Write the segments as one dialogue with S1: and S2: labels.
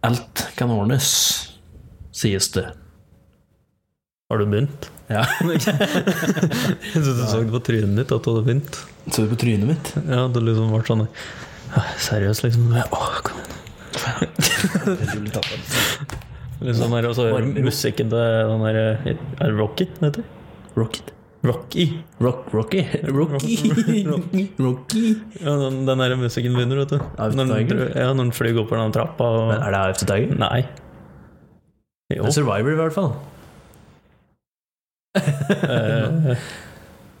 S1: Alt kan ordnes, sies det.
S2: Har du begynt?
S1: Ja.
S2: Jeg synes du så det på trynet ditt at du hadde begynt.
S1: Så du på trynet mitt?
S2: Ja, det liksom ble sånn ja, Seriøst, liksom. Ja, Åh, kom igjen. Litt sånn der, og så
S1: Varm.
S2: musikken til den der Er det Rocky den heter?
S1: Rocket.
S2: Rocky.
S1: Rock, Rocky. Rocky. Rocky.
S2: Ja, den, den der musikken begynner, vet du.
S1: Av
S2: Når den,
S1: Tiger?
S2: ja, når den flyr oppover den trappa og
S1: Men er det AFT Tiger?
S2: Nei.
S1: Det
S2: Jo.
S1: er Survivor, i hvert fall.
S2: eh,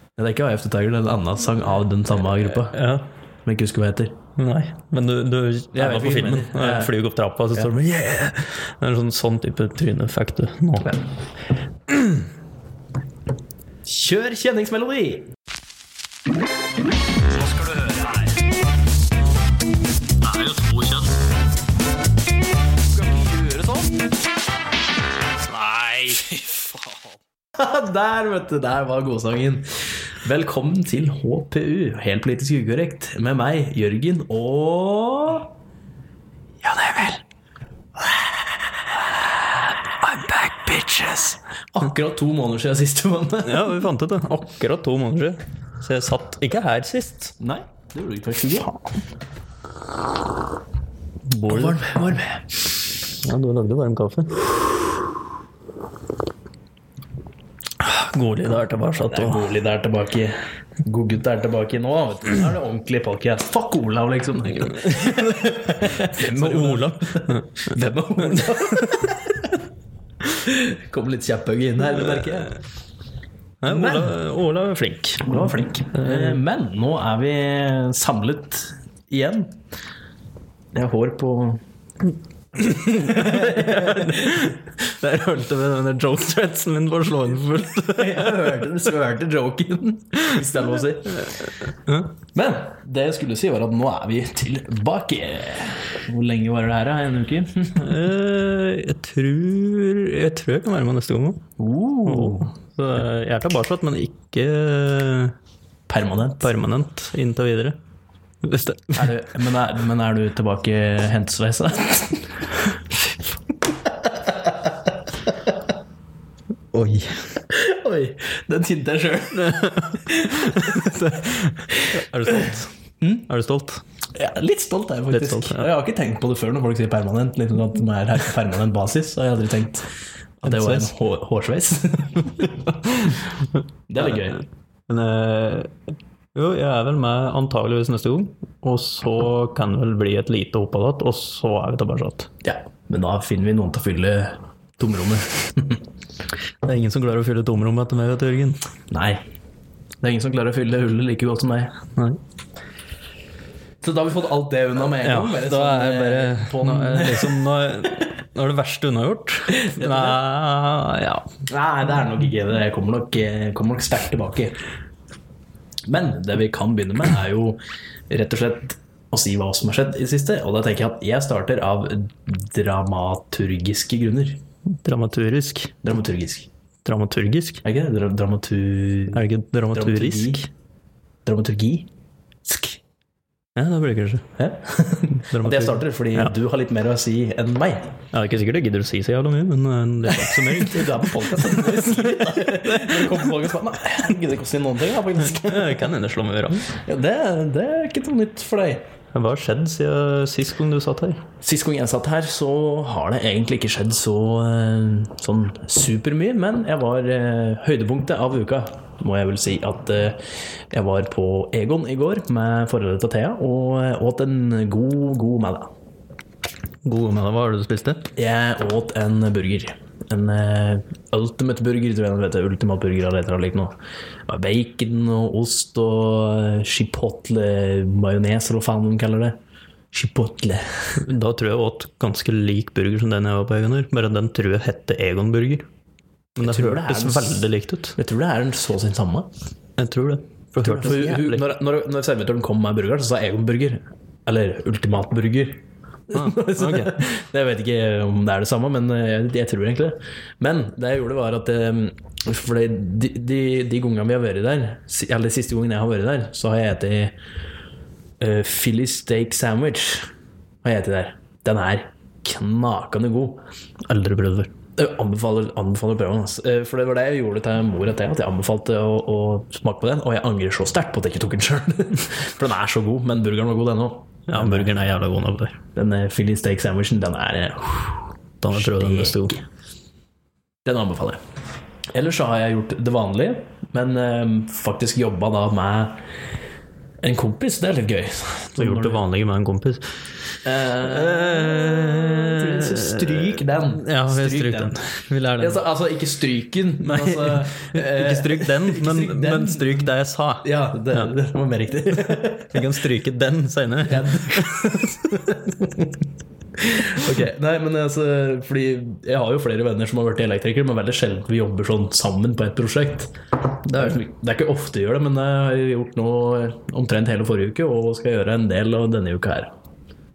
S1: Ja, det er ikke AFT Tiger, det er en annen sang av den samme gruppa.
S2: ja.
S1: Men jeg ikke husker hva det heter.
S2: Nei, men du, du jeg
S1: vet
S2: var på
S1: hvilken
S2: filmen.
S1: mener. Ja.
S2: Jeg Flyr opp trappa, så
S1: Ja.
S2: står det yeah! Det er en sånn, sånn type tryneeffekt du nå.
S1: Kjør kjenningsmelodi! Der, vet du, der var godsangen. Velkommen til HPU, helt politisk ukorrekt, med meg, Jørgen, og Ja, det er vel. I'm back, bitches. Akkurat to måneder siden sist du vant.
S2: Ja, vi fant ut det. Akkurat to måneder siden. Så jeg satt ikke her sist.
S1: Nei, det gjorde du ikke faktisk ikke.
S2: Bål.
S1: Varm, varm.
S2: Ja, du lagde varm kaffe. Godlig, da er tilbake.
S1: Det er Godlid er tilbake. Godgutt er tilbake nå. Vet du. Nå er det ordentlig podcast. Fuck Olav, liksom. Hvem er
S2: Ola.
S1: Hvem er Olav? Kom litt kjepphugg inn her, merker jeg.
S2: Nei, Ola, Ola er flink.
S1: Olav var flink. Eh, Men nå er vi samlet igjen. Jeg har hår på
S2: Der hørte vi denne joke-threatsen min for å slå inn for fullt.
S1: Jeg hørte den svørte joken, hvis det er lov å si. Men det jeg skulle si, var at nå er vi tilbake. Hvor lenge var det her? da? En uke?
S2: Eh, jeg tror Jeg tror jeg kan være med neste gang også.
S1: Uh,
S2: Så eh, jeg er tilbake, men ikke eh,
S1: permanent.
S2: permanent inntil videre. Hvis det
S1: Er du, men, er, men er du tilbake hentesveisa?
S2: Oi.
S1: Oi, den tinte jeg sjøl.
S2: Er du stolt? Er du stolt?
S1: Ja, litt stolt er jeg faktisk.
S2: Litt stolt, ja.
S1: Og Jeg har ikke tenkt på det før når folk sier permanent. Litt sånn at de er her på permanent basis. Og jeg har aldri tenkt at det var en hår, hårsveis. det er litt gøy.
S2: Men eh, jo, jeg er vel med antageligvis neste gang. Og så kan det vel bli et lite opphold igjen, og så er vi tilbake. igjen.
S1: Ja, men da finner vi noen til å fylle tomrommet.
S2: Det er ingen som klarer å fylle tomrommet etter meg, vet du, Jørgen.
S1: Nei. Det er ingen som klarer å fylle hullet like godt som meg.
S2: Nei.
S1: Så da har vi fått alt det unna med en
S2: Ja,
S1: gang? bare
S2: da
S1: sånn,
S2: er jeg bare
S1: eh, på
S2: nå,
S1: den-
S2: er det liksom, nå, er- nå er det verste unnagjort. Nei, ja.
S1: Nei, det er nok ikke det. Jeg kommer nok, jeg kommer nok sterkt tilbake. Men det vi kan begynne med, er jo rett og slett å si hva som har skjedd i det siste. Og da tenker jeg at jeg starter av dramaturgiske grunner.
S2: Dramaturgisk.
S1: Dramaturgisk.
S2: Dramaturgisk?
S1: Er ikke det? Dra dramatur...
S2: Er det ikke dramaturisk?
S1: Dramaturgi?
S2: Ja, det blir det kanskje.
S1: Ja. Og det starter fordi du har litt mer å si enn meg.
S2: Ja, det er ikke sikkert jeg gidder å si så jævla mye, men eh, det er ikke så mye.
S1: Du er på podcast, så du må si litt, da. Når du kommer på podcast, bare, Nei, jeg gidder ikke å si noen ting, da, faktisk.
S2: Jeg kan hende slå meg i rang.
S1: Ja, det, det er ikke noe nytt for deg.
S2: Hva har skjedd siden sist gang du satt her?
S1: Sist gang jeg satt her, så har det egentlig ikke skjedd så eh, sånn supermye. Men jeg var eh, høydepunktet av uka, må jeg vel si. At eh, jeg var på Egon i går med forholdet til Thea, og eh, åt en god, god middag.
S2: God med deg, hva har du spist det?
S1: Jeg åt en burger. En eh, ultimate burger, tror jeg den heter. Ultimate burger eller et eller annet likt noe. Det var Bacon og ost og eh, chipotle majones, eller hva faen de kaller det. Chipotle.
S2: Da tror jeg jeg åt ganske lik burger som den jeg var på Egoner, bare den tror jeg hette Egon Burger. Men det
S1: tror det er
S2: hørtes
S1: den s-
S2: veldig likt ut.
S1: Jeg tror det er den så sin samme.
S2: Jeg tror det. For det
S1: For
S2: hørtes
S1: hun, hun,
S2: jævlig.
S1: når, når, når servitøren kom med burgeren, så sa Egon burger. Eller ultimat burger. Så
S2: Ah, ok.
S1: Jeg vet ikke om det er det samme, men eh, jeg, jeg tror egentlig det. Men det jeg gjorde, var at eh, For det- de, de, de gangene vi har vært der, si- eller de siste gangen jeg har vært der, så har jeg eh, spist Philly steak sandwich. Har jeg spist der. Den her knakende god.
S2: Eldre brødre.
S1: Jeg anbefaler, anbefaler prøven. ass. Eh, For det var det jeg gjorde til mor etter at jeg anbefalte å, å smake på den. Og jeg angrer så sterkt på at jeg ikke tok den sjøl. For den er så god. Men burgeren var god, den òg.
S2: Ja, burgeren er jævla god nok der.
S1: Den eh, Philly steak sandwichen, den er eh,
S2: Da må jeg prøve den neste gang.
S1: Den anbefaler jeg. Ellers så har jeg gjort det vanlige, men eh, faktisk jobba da med en kompis. Det er litt gøy.
S2: Du har gjort det vanlige med en kompis.
S1: Eh, stryk den.
S2: Ja, vi stryk den. Vi lærer den.
S1: Altså, altså, ikke stryken, men altså eh,
S2: Ikke stryk den, men,
S1: stryk den.
S2: men stryk det jeg sa.
S1: Ja, det, det var mer riktig.
S2: Vi kan stryke den seinere.
S1: Den. ok, nei, men altså Fordi jeg har jo flere venner som har vært elektrikere, men veldig sjelden vi jobber sånn sammen på et prosjekt. Det er, liksom, det er ikke ofte jeg gjør det, men jeg har gjort noe omtrent hele forrige uke, og skal gjøre en del av denne uka her.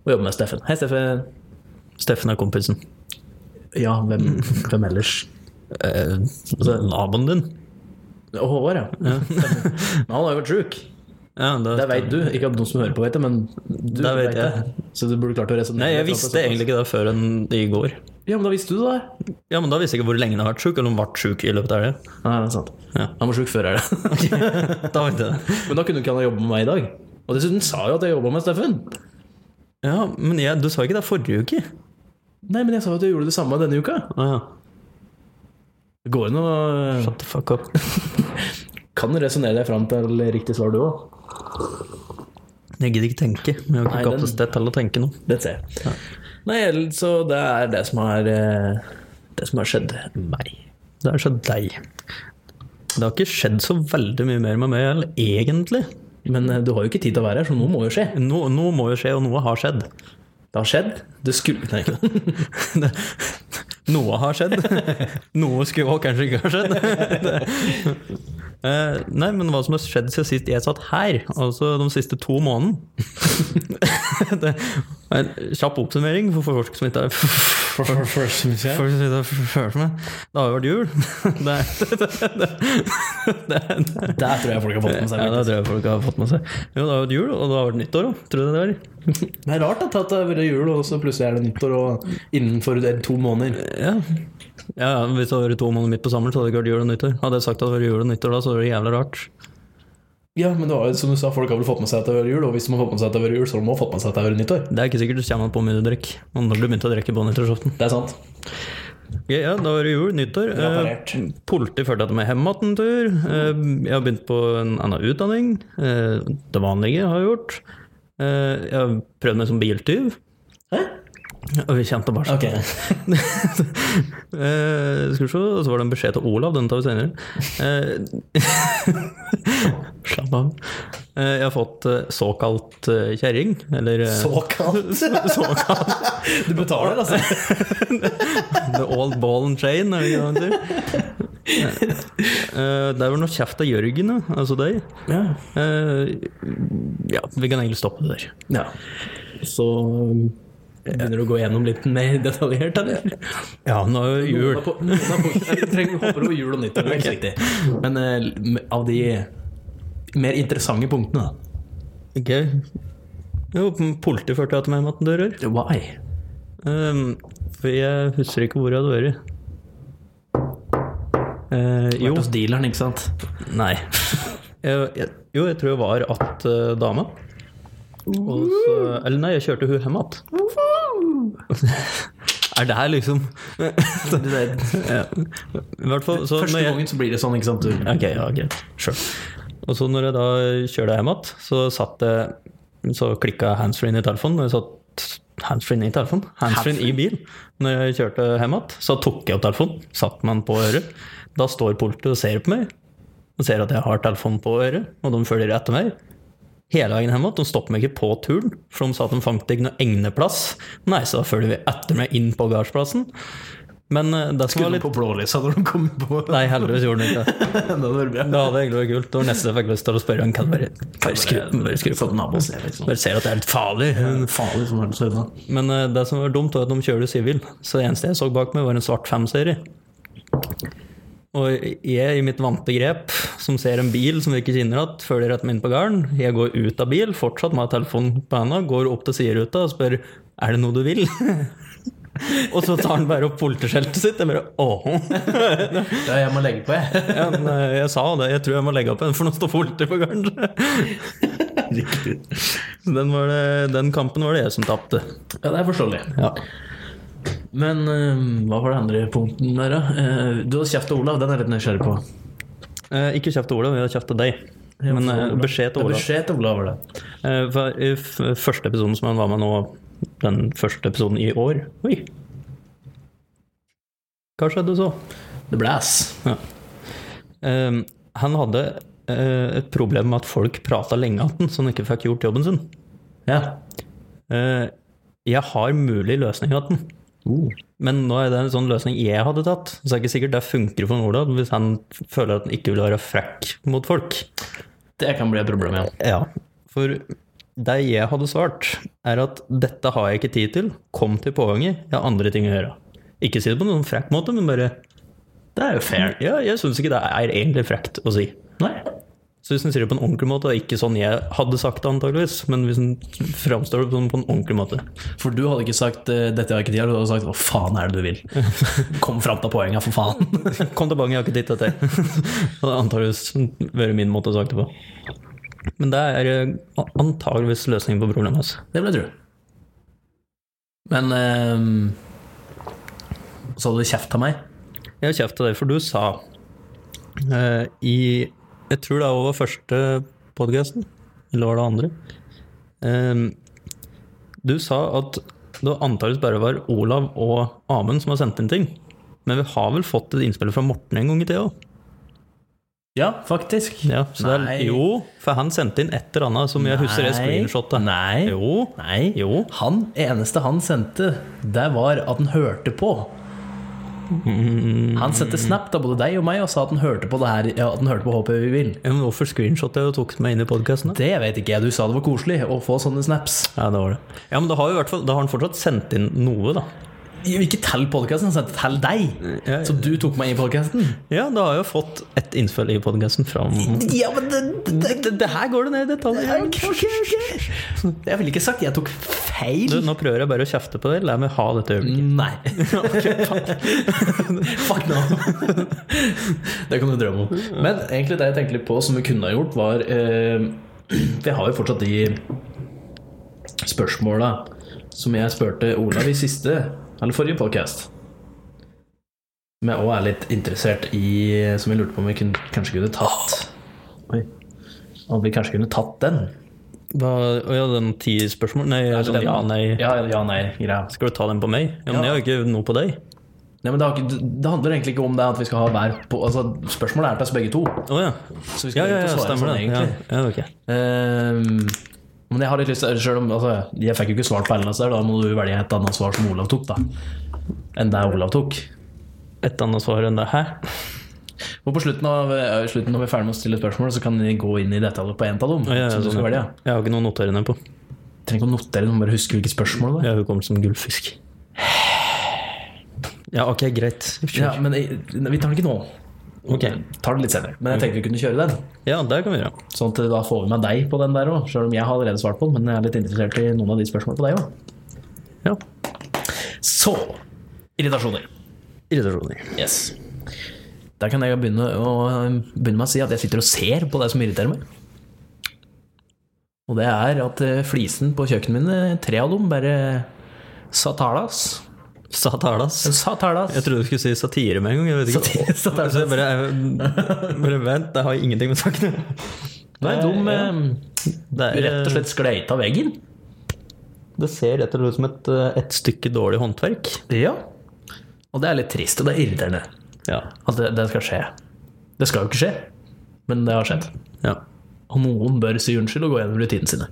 S1: Og jobbe med Steffen. Hei, Steffen.
S2: Steffen er kompisen.
S1: Ja, hvem, hvem ellers?
S2: Eh, altså, naboen din.
S1: Og Håvard, ja. Men han har jo vært sjuk.
S2: Ja, da-
S1: Det veit du. Ikke at noen som hører på vet det, men du
S2: Det vet
S1: vet
S2: jeg.
S1: det. Så du burde klart å resonnere.
S2: Nei, jeg
S1: litt om
S2: visste
S1: det.
S2: egentlig ikke det før enn i går.
S1: Ja, men da visste du det. da.
S2: Ja, men da visste jeg ikke hvor lenge han har vært sjuk, eller om han ble sjuk i løpet av helga.
S1: Nei, det er sant.
S2: Ja.
S1: Han var sjuk før er det.
S2: Da vet jeg det.
S1: Men da kunne ikke han jobbe med meg i dag. Og dessuten sa jo at jeg jobba med Steffen.
S2: Ja, men jeg, du sa ikke det forrige uke.
S1: Nei, men jeg sa jo at jeg gjorde det samme denne uka.
S2: Ah, ja.
S1: Det går an å
S2: Shut the fuck up.
S1: Kan resonnere deg fram til riktig svar, du òg.
S2: Jeg gidder ikke tenke. men Jeg har
S1: Nei,
S2: ikke
S1: den-
S2: kapasitet til å tenke nå.
S1: Det ser jeg. Nei, ellers så det er det som har eh, Det som har skjedd meg.
S2: Det er så deg. Det har ikke skjedd så veldig mye mer med meg heller, egentlig.
S1: Men eh, du har jo ikke tid til å være her, så noe må jo skje.
S2: Noe, noe må jo skje, og noe har skjedd.
S1: Det har skjedd. Det skulle Nei, ikke det.
S2: Noe har skjedd. Noe skulle også kanskje ikke ha skjedd. Eh, nei, men hva som har skjedd siden sist jeg satt her, altså de siste to månedene Det er en kjapp oppsummering for folk som ikke er For å si det føles som det. Det har jo vært jul. Det, er-
S1: Der tror jeg folk har fått med seg.
S2: ja, det tror jeg folk har fått med seg. Jo, det har vært jul, og det har vært nyttår òg. Tror du det var?
S1: Det er rart at det har vært jul, og så plutselig er det nyttår og innenfor det er to måneder.
S2: Ja. ja, ja, Hvis det hadde vært to måneder midt på sommeren, så hadde det ikke vært jul og nyttår. Hadde jeg sagt at det var jul og nyttår da, så hadde det vært jævla rart.
S1: Ja, men det var jo som du sa, folk har vel fått med seg at det har vært jul, og hvis de har fått med seg at det har vært jul, så har de også fått med seg at det har vært nyttår.
S2: Det er ikke sikkert du kommer an på hvor mye du drikker. Men når du begynte å drikke på nyttårsaften.
S1: Det er sant.
S2: Ok, ja, da var det jul, nyttår.
S1: Reparert.
S2: Eh, Politiet førte meg hjem igjen en tur. Eh, jeg har begynt på en annen utdanning. Eh, det vanlige har jeg gjort. Eh, jeg har prøvd meg som biltyv.
S1: Hæ?
S2: Og vi kjente bare sånn.
S1: Ok.
S2: Eh, skal vi se, og så var det en beskjed til Olav, den tar vi senere. Eh, Slapp av. Eh, jeg har fått eh, såkalt eh, kjerring, eller eh,
S1: Såkalt.
S2: såkalt
S1: Du betaler, altså.
S2: the old ball and chain, er det ikke det han sier? Eh, det er vel noe kjeft av Jørgen, ja, altså deg.
S1: Ja.
S2: Eh, ja, vi kan egentlig stoppe det der.
S1: ja. Så um, begynner du å gå gjennom litt mer detaljert, eller?
S2: Ja, nå er det
S1: Noen
S2: jul.
S1: av po- noen av punktene- Vi trenger hopper over jul og nyttår, det er helt riktig. Men eh, av de mer interessante punktene, da.
S2: Ok. Jo, politiet førte jeg til meg med 18 dører.
S1: Why?
S2: Ehm, for jeg husker ikke hvor jeg hadde vært. Eh,
S1: Jo.
S2: jo,
S1: Vært hos dealeren, ikke sant?
S2: nei. Jeg, Eh, jeg, jo, jeg tror jeg var att eh, dama. Og så, eller nei, jeg kjørte hun hjem igjen. er det her liksom ja. I hvert fall så
S1: Første
S2: når jeg,
S1: gangen så blir det sånn, ikke sant? Du,
S2: Ok, ja, greit. Sure. Og så når jeg da kjørte hjem igjen, så satt jeg Så klikka handsfree-en i telefonen. Og jeg satt handsfree-en i telefonen? Handsfree-en i bil. Når jeg kjørte hjem igjen, så tok jeg opp telefonen. Satt med den på øret. Da står politiet og ser på meg. Og ser at jeg har telefonen på øret, og de følger etter meg. Hele veien hjem igjen. De stopper meg ikke på turen, for de sa at de fant ikke noe egneplass. Nei, så da følger vi etter meg inn på gardsplassen. Men eh, det som
S1: Skulle
S2: var
S1: litt...
S2: litt
S1: på blålysa når de kom på
S2: Nei, heldigvis gjorde den ikke det.
S1: Det hadde vært bra.
S2: Det hadde egentlig vært kult. Det var nesten jeg fikk lyst til å spørre han kan bare, bare skru på bare skru på
S1: Sånn nabo ser liksom.
S2: Bare ser at det er litt farlig.
S1: Men farlig som høres ut, da.
S2: Men eh, det som var dumt, var at de kjører sivil. Så det eneste jeg så bak meg, var en svart 5-serie. Og jeg, i mitt vante grep, som ser en bil som vi ikke kjenner igjen, følger rett inn på gården. Jeg går ut av bil, fortsatt med telefonen på henda, går opp til sideruta og spør er det noe du vil. Og så tar han bare opp politiskjeltet sitt. Jeg bare åh.
S1: Ja, jeg må legge på, jeg.
S2: Ja, men, eh, jeg sa det, jeg tror jeg må legge opp en, for nå står politiet på garden.
S3: Riktig.
S2: Så den, var det, den kampen var det jeg som tapte.
S1: Ja, det er forståelig.
S2: Ja.
S1: Men eh, hva var det andre punkten der, da? Eh, du har kjeft til Olav, den er jeg litt nysgjerrig på.
S2: Eh, ikke kjeft til Olav, jeg har kjeft til deg. Men eh, beskjed til
S1: Ja,
S2: Olav.
S1: Beskjed til Olav var det.
S2: Eh, for I f første episoden som han var med nå, den første episoden i år Oi! Hva skjedde så?
S1: Det ble ass.
S2: Eh, han hadde eh, et problem med at folk prata lenge om den, så han ikke fikk gjort jobben sin.
S1: Ja.
S2: Eh, jeg har mulig løsning av den. Men nå er det en sånn løsning jeg hadde tatt. Så det er ikke sikkert det funker for Ola hvis han føler at han ikke vil være frekk mot folk.
S1: Det kan bli et problem, ja.
S2: Ja, for det jeg hadde svart, er at dette har jeg ikke tid til. Kom til påhenget, jeg har andre ting å gjøre. Ikke si det på noen frekk måte, men bare
S1: Det er jo fair.
S2: Ja, jeg syns ikke det er egentlig frekt å si.
S1: Nei.
S2: Så hvis han sier det på en ordentlig måte, og ikke sånn jeg hadde sagt det antageligvis, men hvis han framstår det på en på en ordentlig måte
S1: For du hadde ikke sagt eh, 'dette har jeg ikke tid til', du hadde sagt 'hva faen er det du vil'? Kom fram til poenget, for faen.
S2: Kom tilbake, jeg har ikke tid til dette. Det hadde antageligvis vært min måte å sagt det på. Men det er eh, antageligvis løsningen på problemet. Altså.
S1: Det vil jeg tro. Men ehm, Så hadde du kjeft av meg?
S2: Jeg har kjeft til deg, for du sa eh, i Jeg tror det var første podkasten, eller var det andre? Ehm, du sa at det antakeligvis bare var Olav og Amund som har sendt inn ting. Men vi har vel fått et innspill fra Morten en gang i tida òg?
S1: Ja, faktisk.
S2: Ja, så det
S1: Nei.
S2: er- jo, for han sendte inn et eller annet som jeg husker er
S1: Nei.
S2: screenshotet.
S1: Nei.
S2: Jo.
S1: Nei.
S2: Jo.
S1: Han eneste han sendte, det var at han hørte på. Han sendte snap til både deg og meg og sa at han hørte på det her Ja, at han hørte på HP vi vil.
S2: Ja, men hvorfor screenshotet jeg og tok meg inn i podkasten?
S1: Det vet ikke jeg. Du sa det var koselig å få sånne snaps.
S2: Ja, det var det. Ja, men da har, jo i hvert fall, da har han fortsatt sendt inn noe, da.
S1: Ikke tell podkasten, han sendte til deg.
S2: Ja, ja.
S1: Så du tok meg inn i podkasten?
S2: Ja, da har jeg jo fått ett innspill i podkasten fra
S1: Ja, men det, det, det, det her går
S2: går det ned i detalj.
S1: Ja, ok, ok, ok. Jeg ville ikke sagt jeg tok
S2: Du,
S1: feil.
S2: nå prøver jeg bare å kjefte på deg. La meg ha dette øyeblikket.
S1: Nei. Mm. Fuck no. Mm, Det kan du drømme om. Men egentlig det jeg tenkte litt på som vi kunne ha gjort, var eh, Vi har jo fortsatt de spørsmåla som jeg spurte Olav i siste, eller forrige podcast Som jeg òg er litt interessert i, som jeg lurte på om vi kunne, kanskje kunne tatt. Oi. Om vi kanskje kunne tatt den.
S2: Da, Mm. å ja, den ti spørsmål Nei, sånn, ja, nei.
S1: Ja, ja, nei, greia.
S2: Skal du ta den på meg? Ja, men jeg har jo ikke noe på deg.
S1: Nei, men det, har ikke, det handler egentlig ikke om det at vi skal ha hver på, altså, Spørsmålet er til oss begge to.
S2: Å ja.
S1: Så vi
S2: Ja,
S1: skal
S2: ja,
S1: egentlig
S2: ja,
S1: svare
S2: stemmer
S1: sånn,
S2: det. Ja,
S1: egentlig.
S2: ja, ok.
S1: Ehm, men jeg har litt lyst til selv om, altså, Jeg fikk jo ikke svart på alle disse, her, da må du velge et annet svar som Olav tok, da. Enn det Olav tok.
S2: Et annet svar enn det her.
S1: Og på slutten av ø, slutten når vi er ferdig med å stille spørsmål, så kan vi gå inn i detaljer på en av dem.
S2: Ja, ja,
S1: som du
S2: sånn,
S1: skal
S2: ja.
S1: velge.
S2: jeg har ikke noe å notere ned på.
S1: Trenger ikke å notere, du må bare huske hvilket spørsmål det er.
S2: Jeg har jo kommet som gullfisk. Ja, ok, greit.
S1: Ja, men jeg, nei, vi tar den ikke nå.
S2: Ok.
S1: Tar det litt senere. Men jeg tenkte vi kunne kjøre den.
S2: Ja, det kan vi gjøre.
S1: Sånn at da får vi med deg på den der òg, sjøl om jeg har allerede svart på den. Men jeg er litt interessert i noen av de spørsmålene på deg òg.
S2: Ja.
S1: Så irritasjoner.
S2: Irritasjoner.
S1: Yes. Der kan jeg begynne, å, begynne med å si at jeg sitter og ser på det som irriterer meg. Og det er at eh, flisen på kjøkkenet mine, tre av dem, bare Satalas.
S2: Satalas.
S1: Satalas.
S2: Jeg trodde du skulle si satire med en gang. Jeg vet ikke.
S1: Satire, satire.
S2: Så jeg bare, jeg, bare vent, det har ingenting med saken å gjøre.
S1: Nei, de
S2: ja.
S1: eh,
S2: Det er, eh,
S1: rett og slett sklei ut av veggen.
S2: Det ser rett og slett ut som et, eh, et stykke dårlig håndverk.
S1: Ja. Og det er litt trist, og det er irriterende
S2: Ja.
S1: at det, det skal skje. Det skal jo ikke skje, men det har skjedd.
S2: ja.
S1: Og noen bør si unnskyld og gå gjennom rutinene sine.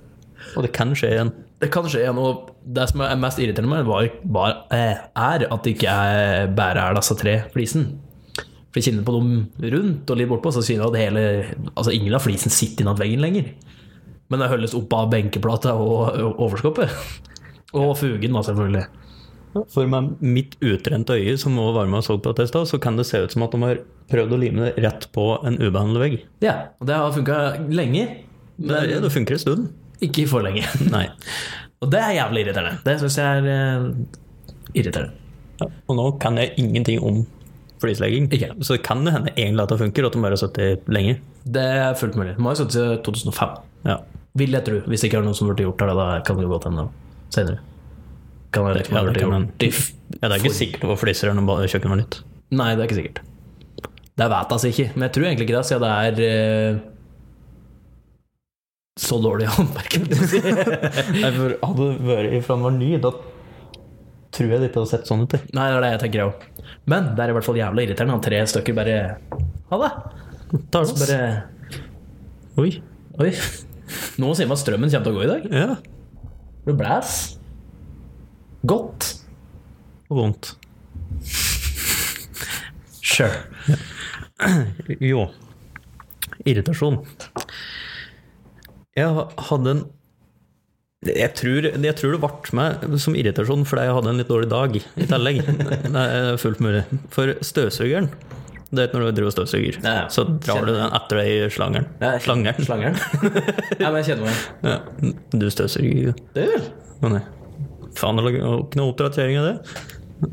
S2: Og det kan skje igjen.
S1: Det kan skje igjen, og det som er mest irriterende med det, var, var, eh, er at det ikke er bare er disse tre flisen. For jeg kjenner på dem rundt og litt bortpå, så synes jeg at hele, altså ingen av flisen sitter innad veggen lenger. Men det holdes opp av benkeplata og og overskoppet. Og fugen, da, selvfølgelig.
S2: For med mitt utrente øye, som også var med og så på dette i stad, så kan det se ut som at de har prøvd å lime det rett på en ubehandlet vegg.
S1: Ja, og det har funka lenge,
S2: Det,
S1: men
S2: ja, det funker en stund.
S1: ikke for lenge.
S2: Nei.
S1: Og det er jævlig irriterende. Det syns jeg er eh, irriterende.
S2: Ja, og nå kan jeg ingenting om flislegging.
S1: Ikke.
S2: Så det kan det hende egentlig at det funker, og at de bare har sittet lenge.
S1: Det er fullt mulig. Må ha sittet siden 2005,
S2: Ja.
S1: vil jeg tro. Hvis det ikke er noen som burde gjort det, da kan det jo godt hende senere. Kan være litt
S2: Ja,
S1: man
S2: det
S1: burde
S2: kan man.
S1: gjort i f-
S2: Ja, det er ikke sikkert på fliser når ba- kjøkkenet var nytt.
S1: Nei, det er ikke sikkert. Det vet jeg altså ikke, men jeg tror egentlig ikke det, siden det er eh, så dårlig håndverk. holdt jeg på å si.
S2: Nei, for hadde det vært fra den var ny, da tror jeg det ikke hadde sett sånn ut. det.
S1: Nei, det er det jeg tenker òg. Men det er i hvert fall jævla irriterende. Han tre stykker bare Ha det!
S2: Tar
S1: Så
S2: det
S1: bare
S2: Oi.
S1: Oi. Nå sier man strømmen kommer til å gå i dag.
S2: Ja.
S1: Det blæs. Godt.
S2: Og vondt.
S1: Sure.
S2: Jo. Irritasjon. Jeg ha- hadde en jeg tror, jeg tror det ble meg som irritasjon fordi jeg hadde en litt dårlig dag i tillegg. Det er fullt mulig. For støvsugeren Du vet når du driver og støvsuger,
S1: Ja, ja.
S2: så drar du den etter deg i slangeren.
S1: Ja,
S2: Slangeren.
S1: Slangeren. ja, men jeg kjenner meg.
S2: Ja. Du støvsuger jo.
S1: Det gjør
S2: Å nei. Faen, det er ikke noe oppdatering av det.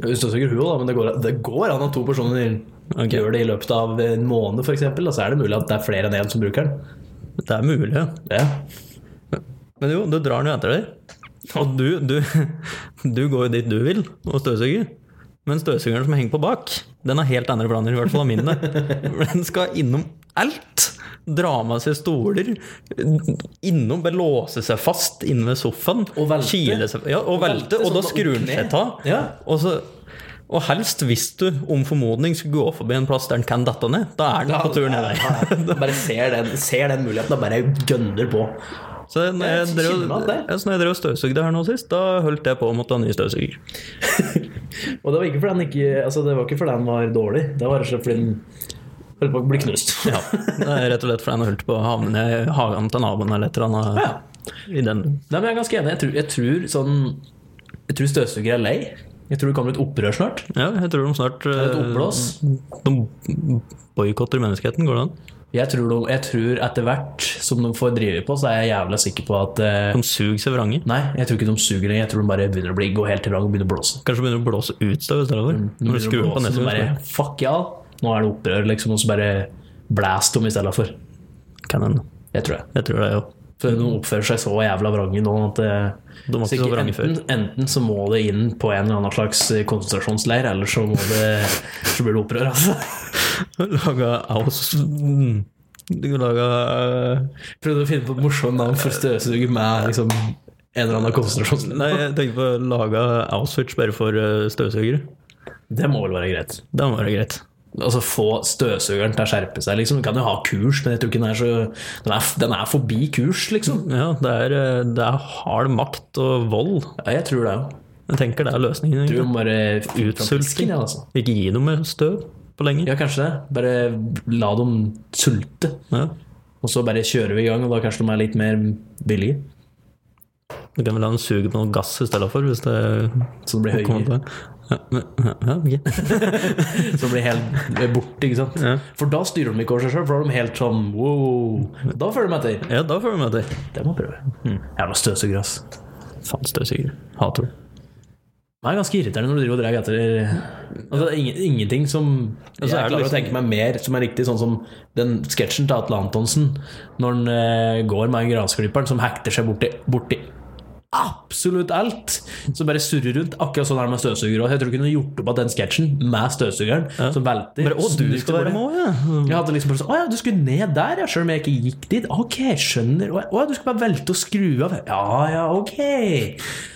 S1: Hvis du søker huet, da, men det går, det går an at to personer
S2: Ok.
S1: gjør det i løpet av en måned, f.eks., og så er det mulig at det er flere enn én som bruker den.
S2: Det er mulig. ja.
S1: Ja.
S2: Men jo, du drar den jo etter deg. Og du, du, du går jo dit du vil og støvsuger. Men støvsugeren som henger på bak, den har helt andre planer. I hvert fall av mine. Den skal innom alt. Dra med seg stoler. Innom, bare låse seg fast inne ved sofaen.
S1: Og velte.
S2: Kile seg, ja, og,
S1: Og velte,
S2: velte, og da
S1: sånn
S2: skrur
S1: opp
S2: den
S1: ned.
S2: seg av.
S1: Ja.
S2: Og, så, og helst hvis du om formodning skulle gå forbi en plass der den kan dette ned. Da er den på tur ned der.
S1: Bare ser den, ser den muligheten og bare gønner på.
S2: Så når jeg,
S1: Jeg
S2: drev,
S1: kjenner at det-
S2: ja, så når jeg drev og støvsugde her nå sist, da holdt jeg på å måtte ha ny støvsuger.
S1: Og det var ikke fordi han ikke altså det var ikke fordi han var dårlig, det var rett og slett fordi han holdt på å bli knust.
S2: Ja, det er rett og slett fordi han holdt på å havne ned i hagen til naboen eller et eller annet.
S1: Ja.
S2: I den.
S1: Nei, men jeg er ganske enig. Jeg tror, jeg tror, sånn, jeg tror støvsugere er lei. Jeg tror det kommer et opprør snart.
S2: Ja, jeg tror de snart
S1: Et oppblås.
S2: eh, De boikotter menneskeheten, går det an?
S1: Jeg tror, de, jeg tror etter hvert som de får drive på, så er jeg jævla sikker på at eh,
S2: De suger seg vrange.
S1: Nei, jeg tror ikke de suger lenger. Jeg tror de bare begynner å bli, gå helt til rang og begynner å blåse.
S2: Kanskje begynner å blåse ut støv i stedet for. Når du skrur
S1: Mm, Begynner å
S2: på
S1: blåse, så
S2: neste
S1: bare,
S2: gang.
S1: Fuck ja, nå er det opprør, liksom. Og så bare blæst dem i stedet for.
S2: Kan hende.
S1: Jeg tror det.
S2: Jeg tror det, jo.
S1: For de oppfører seg så jævla vrange nå at eh,
S2: De var
S1: så
S2: ikke så
S1: ikke-
S2: vrange før.
S1: enten, enten så må det inn på en eller annen slags eh, konsentrasjonsleir, eller så, må det, så blir det opprør, altså.
S2: Laga aus... mm, Du laga eh,
S1: Prøvde å finne på et morsomt navn for støvsuger med liksom, en eller annen konsentrasjonsleir.
S2: Nei, jeg tenker på laga Auschwitz bare for eh, støvsugere.
S1: Det må vel være greit.
S2: Det må være greit.
S1: Altså Få støvsugeren til å skjerpe seg. Liksom. Den kan jo ha kurs, men jeg tror ikke den er så Den er, den er forbi kurs, liksom.
S2: Ja, det er, eh, det er hard makt og vold.
S1: Ja, jeg tror det òg.
S2: Jeg tenker det er løsningen.
S1: Du
S2: egentlig.
S1: må bare ut fra
S2: Utsulting.
S1: pisken, ja, altså.
S2: Ikke gi noe med støv på lenge.
S1: Ja, kanskje det. Bare la dem sulte.
S2: Ja.
S1: Og så bare kjører vi i gang, og da kanskje de er litt mer billige.
S2: Du kan vel la den suge på noe gass i stedet for, hvis det
S1: Så det blir
S2: kommer
S1: høyere.
S2: på. Ja, men- ja, ok.
S1: Så det blir helt borte, ikke sant.
S2: Ja.
S1: For da styrer de ikke over seg sjøl, for da er de helt sånn wow. Da følger de etter.
S2: ja, da får du med deg.
S1: Det må jeg prøve.
S2: Mm.
S1: Jævla støvsuger, ass.
S2: Faen, støvsuger. Hater det.
S1: Det er ganske irriterende når du driver og drar etter altså, det er ingen, Ingenting som Jeg
S2: så er det
S1: klarer å
S2: liksom-
S1: tenke meg mer som er riktig, sånn som den sketsjen til Atle Antonsen når han eh, går med en grasklipperen som hekter seg borti, borti absolutt alt. Som bare surrer rundt. Akkurat sånn er det med støvsugere også. Jeg tror ikke hun har gjort opp at den sketsjen med støvsugeren som velter
S2: Bare, å, du
S1: snur
S2: skal
S1: til
S2: være
S1: bordet.
S2: med òg, ja.
S1: Jeg hadde liksom bare sånn Å ja, du skulle ned der, ja, sjøl om jeg ikke gikk dit. Ok, skjønner. Å ja, du skulle bare velte og skru av. Ja ja, ok.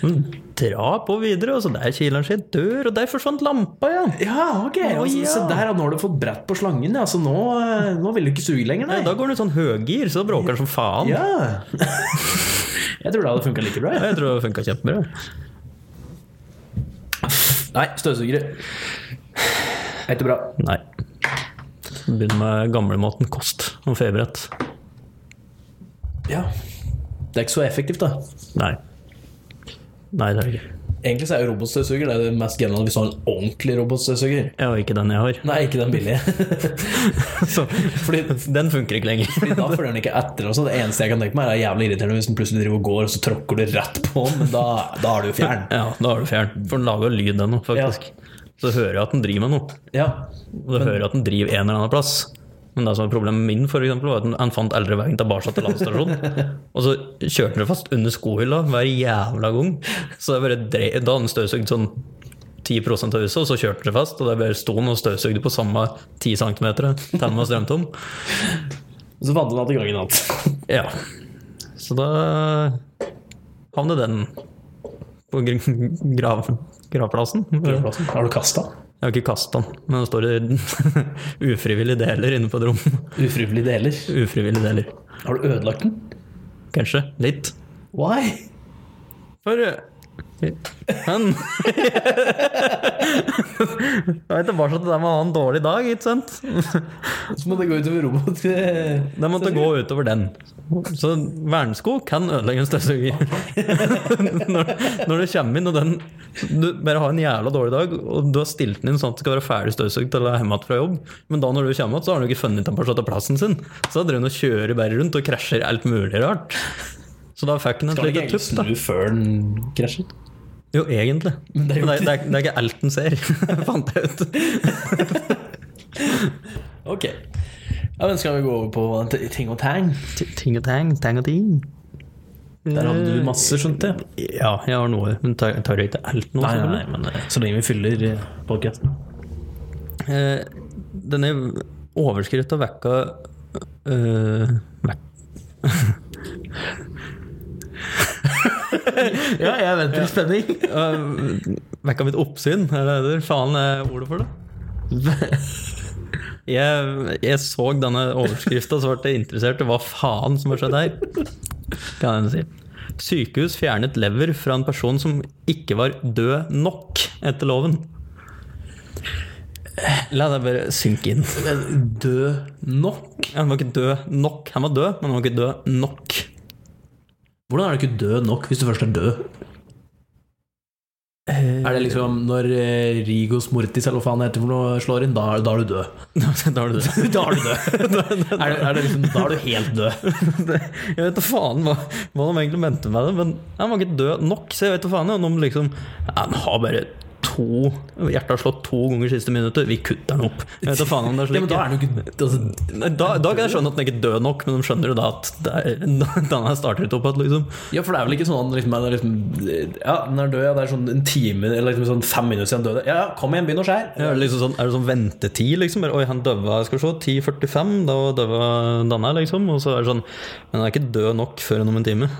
S2: Men Dra på videre, altså. og så der kileren sin dør, og der forsvant lampa, ja.
S1: Ja, ok.
S2: Å,
S1: altså,
S2: ja.
S1: Se der, ja, nå har du fått brett på slangen. ja, så nå, eh, nå vil du ikke suge lenger, nei.
S2: Da går den i sånn høygir, så bråker den som faen.
S1: Ja. Jeg tror det hadde funka like bra.
S2: Ja,
S1: jeg.
S2: Jeg tror det funka kjempebra.
S1: Nei, støvsugere. Ikke bra.
S2: Nei. Begynn med gamlemåten kost og feberett.
S1: Ja. Det er ikke så effektivt, da.
S2: Nei. Nei, det er det ikke.
S1: Egentlig så er jo robotstøvsuger det, er det mest geniale hvis du har en ordentlig robotstøvsuger.
S2: Ja, og ikke den jeg har.
S1: Nei, ikke den billige.
S2: Så, fordi den funker ikke lenger.
S1: Fordi Da følger den ikke etter. Også. Det eneste jeg kan tenke meg, er jævlig irriterende hvis den plutselig driver og går, og så tråkker du rett på den, men da, da er du jo fjern.
S2: Ja, da har du fjern. For den lager lyd ennå, faktisk. Så hører jeg at den driver med noe.
S1: Ja.
S2: Og du hører jeg at den driver en eller annen plass. Men det som var problemet min, for eksempel, var at den- han fant eldre veien tilbake til landstasjonen. og så kjørte den fast under skohylla hver jævla gang. Så jeg bare dre- da hadde den støvsugd sånn 10 av huset, og så kjørte den fast. Og der bare sto den og støvsugde på samme 10 cm til den var strømt om.
S1: Og så fant den igjen gangen igjen.
S2: Ja. Så da havnet den på gr- grav, gravplassen.
S1: Har du kasta?
S2: Jeg har ikke kasta den, men det står i ufrivillige deler inne på et rom.
S1: Ufrivillige deler.
S2: Ufrivillige deler.
S1: Har du ødelagt den?
S2: Kanskje. Litt.
S1: Why?
S2: For eh, han Jeg er tilbake til det med å ha en dårlig dag, ikke sant?
S1: Så må det gå utover robot...
S2: Det måtte gå utover den. Så vernesko kan ødelegge en støvsuger. når, når du kommer inn og den Du bare har en jævla dårlig dag, og du har stilt den inn sånn at det skal være ferdig støvsugd til å være hjemme igjen fra jobb, men da når du kommer igjen, så har du ikke funnet den på slått av plassen sin. Så da driver den og kjører bare rundt og krasjer alt mulig rart. Så da fikk den en
S1: Skal den
S2: slik
S1: ikke
S2: tupp, da.
S1: egentlig snu før den krasjer?
S2: Jo, egentlig. Men
S1: det
S2: det
S1: er jo
S2: er, det, er, det er ikke alt den ser, fant jeg ut.
S1: Ok. Ja, men skal vi gå over på t- ting og tang?
S2: Ting og tang, tang og ting.
S1: Der hadde du masse, skjønte jeg.
S2: Ja, jeg har noe. Men tar, tar jeg ikke alt nå?
S1: Nei, nei,
S2: selvfølgelig?
S1: nei, men eh, så lenge vi fyller podkasten.
S2: Eh, denne overskrifta vekka eh, vek... ja, jeg venter i spenning. vekka mitt oppsyn, er det det faen er ordet for det? Jeg, jeg så denne overskrifta, så ble jeg interessert i hva faen som har skjedd her. Kan jeg si. Sykehus fjernet lever fra en person som ikke var død nok etter loven. La det bare synke inn.
S1: Men død nok?
S2: Han var ikke død nok. Han var død, men han var ikke død nok.
S1: Hvordan er du ikke død nok hvis du først er død? Er det liksom når eh, Rigos Mortis eller hva faen det heter for noe slår inn, da, er- da er du død?
S2: da er du død.
S1: Da er du død. er, det, er det liksom, da er du helt død.
S2: Jeg vet da faen hva, hva de egentlig mente med det, men han var ikke død nok. Så jeg vet da faen om de liksom Han har bare to Hjertet har slått to ganger siste minuttet. Vi kutter den opp. Jeg vet da faen om det er
S1: Ja,
S2: slik.
S1: men da er du ikke altså,
S2: Nei, da, da kan jeg skjønne at den ikke er død nok, men de skjønner jo da at det er- den her starter ikke opp igjen, liksom.
S1: Ja, for det er vel ikke sånn at liksom, er det liksom, Ja, den er død, ja, det er sånn en time eller liksom sånn fem minutter siden han døde. Ja, ja, kom igjen, begynn å skjære.
S2: Ja, liksom sånn, er det sånn ventetid, liksom? Bare, Oi, han døva skal vi se, 10.45, da døva denne, liksom. Og så er det sånn Men han er ikke død nok før om en time.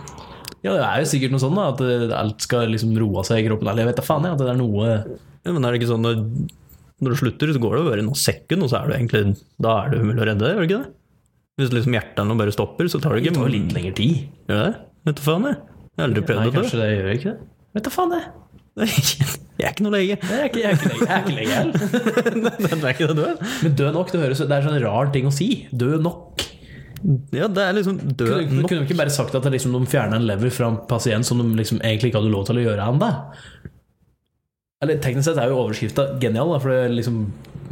S1: Ja, det er jo sikkert noe sånn da at eh, alt skal liksom roe seg i kroppen. Eller jeg vet da faen, jeg, at det er noe
S2: Ja, men er det ikke sånn når, når du slutter, så går det jo bare noen sekunder, og så er du egentlig Da er det umulig å redde deg, gjør det ikke det? Hvis liksom hjertet nå bare stopper, så tar det
S1: Det
S2: ikke
S1: tar jo litt lengre tid.
S2: Gjør det det? Vet du faen, jeg. Jeg har aldri
S1: Nei,
S2: prøvd å dø.
S1: kanskje det gjør ikke det. Vet da faen, jeg.
S2: Jeg er ikke noe lege.
S1: Nei, Jeg er ikke- jeg er ikke lege- jeg er ikke lege heller.
S2: Det er ikke det du er.
S1: Men død nok, det høres Det er sånn rar ting å si. Død nok.
S2: Ja, det er liksom
S1: Kunne,
S2: død nok.
S1: kunne du ikke bare sagt at det liksom, de fjerner en lever fra en pasient som de liksom egentlig ikke hadde lov til å gjøre ennå? Eller teknisk sett er jo overskrifta genial, da, for det liksom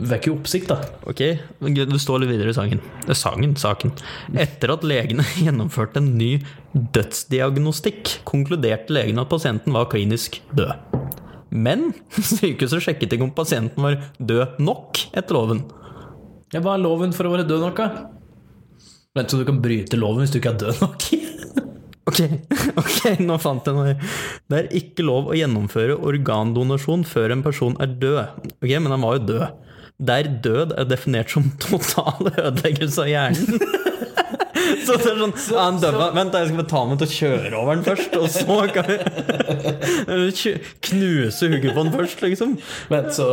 S1: vekker jo oppsikt, da.
S2: Ok, men Gud, du står litt videre i sangen. Det er sangen, saken. Etter at legene gjennomførte en ny dødsdiagnostikk, konkluderte legene at pasienten var klinisk død. Men sykehuset sjekket ikke om pasienten var død nok etter loven.
S1: Ja, hva er loven for å være død nok, da? Vent, så du kan bryte loven hvis du ikke er død nok?
S2: Ok, ok, nå fant jeg noe. Det er ikke lov å gjennomføre organdonasjon før en person er død. Ok, men han var jo død. Der død er definert som total ødeleggelse av hjernen. Så det er sånn ja, han døva. Vent, da, jeg skal bare ta meg til å kjøre over den først, og så kan vi Eller kjø- Knuse hodet på den først, liksom.
S1: Vent, så,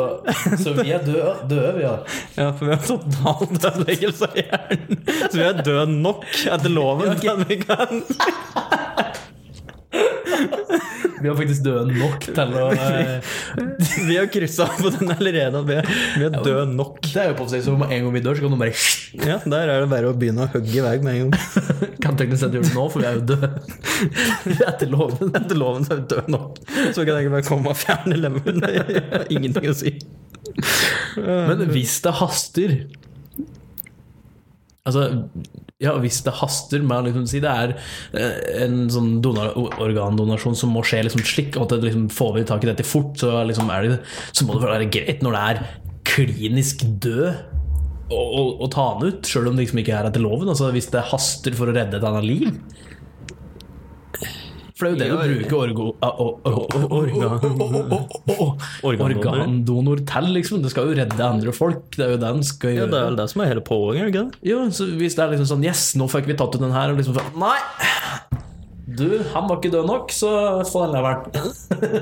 S1: så vi er døde, døde vi, ja.
S2: Ja, for vi har total ødeleggelse av hjernen. Så vi er døde nok etter loven. til at vi kan
S1: Vi var faktisk døde nok til å eh,
S2: Vi har kryssa på den allerede. Vi er, vi er døde nok.
S1: Det er jo på seg som en gang vi dør, så kan noen bare
S2: Ja, Der er det bare å begynne å hogge i vei med en gang.
S1: Kan teknisk sett gjøre det nå, for vi er jo døde. Etter loven.
S2: Etter loven så er vi døde nok. Så kan jeg ikke bare komme og fjerne lemmen. Det har ingenting å si.
S1: Men hvis det haster Altså, ja, hvis det haster med å liksom si det er eh, en sånn donar, organdonasjon som må skje liksom slik, og at det liksom får vi tak i dette fort, så, liksom er det, så må det vel være greit når det er klinisk død å, å, å ta den ut, sjøl om det liksom ikke er etter loven. Altså, hvis det haster for å redde et annet liv. For det er jo det du bruker orgo, a, o, o, o, organ- organdonor til, liksom. Du skal jo redde andre folk. Det er jo det den skal
S2: Ja,
S1: gjøre.
S2: Det er vel det som er hele poenget? er det ikke det?
S1: Jo, så hvis det er liksom sånn Yes, nå fikk vi tatt ut den her. Og liksom sånn Nei! Du, han var ikke død nok, så få den leveren.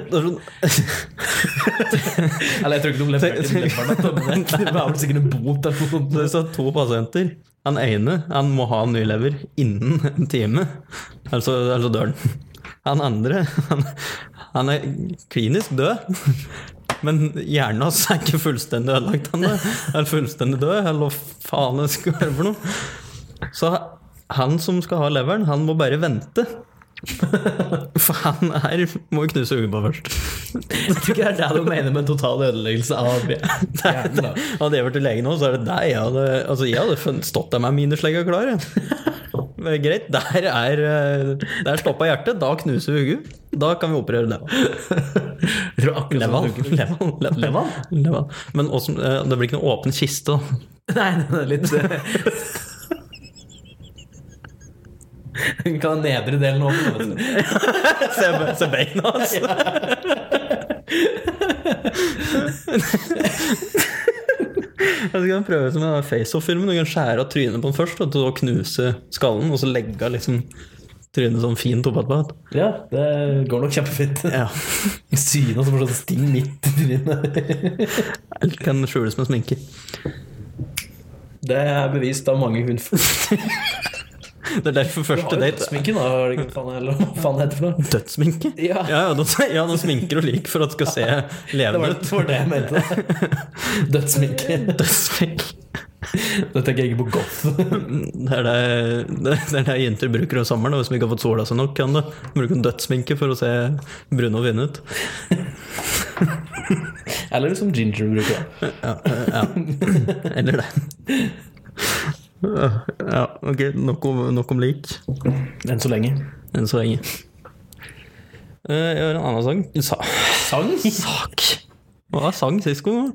S2: Det er sånn,
S1: Eller jeg tror ikke de leverte den leveren. men Det det var vel sikkert en bot eller
S2: det
S1: noe.
S2: er sånn to pasienter. Han ene han må ha en ny lever innen en time, altså, altså dør han. Han andre han, han er klinisk død, men hjernen hans er ikke fullstendig ødelagt. Han er, er fullstendig død, eller hva faen det skal være for noe. Så han som skal ha leveren, han må bare vente. For han er, må jo knuse øyet på først.
S1: Jeg tror ikke det er det de mener med en total ødeleggelse av hjernen. da.
S2: Hadde jeg vært til lege nå, så er det deg. Jeg hadde, altså, jeg hadde fun- stått der med mineslegga klar. Jeg. Men greit, der er eh, Der stoppa hjertet. Da knuser vi hodet. Da kan vi operere det.
S1: Jeg tror akkurat sånn
S2: Levan.
S1: det funker.
S2: Levan. Levan.
S1: Levan?
S2: Levan. Men også, eh, det blir ikke noe åpen kiste, da.
S1: Nei, den er litt eh, Den kan ha nedre delen åpen. vet du.
S2: Se, se beina hans! Jeg skal prøve som en face-off-filmen. Du kan skjære av trynet på den først, og så knuse skallen, og så legge av liksom trynet sånn fint oppå etterpå.
S1: Ja, det går nok kjempefint.
S2: Ja.
S1: Syna som får sånn sting midt i trynet.
S2: Eller kan skjules med sminke.
S1: Det er bevist av mange hundfolk.
S2: Det er derfor første date
S1: Dødssminken, da. Var det ikke faen eller hva faen det heter for noe?
S2: Dødssminke?
S1: Ja.
S2: ja, ja, da, ja da sminker du lik for at det skal se
S1: Det
S2: levende
S1: var,
S2: ut.
S1: det var det jeg mente. Dødssminke.
S2: Dødssmink.
S1: Da tenker jeg ikke på goth.
S2: Det er det, det, det er det jenter bruker om sommeren. og Hvis de ikke har fått sola seg nok, kan du bruke en dødssminke for å se brune og fine ut.
S1: Eller som Ginger bruker. da.
S2: Eller det. Ja, ok. Nok om, nok om lik
S1: Enn så lenge.
S2: enn så lenge. Eh, Jeg har en annen sang. Sa
S1: Sang?
S2: sak! Hva sang sist gang?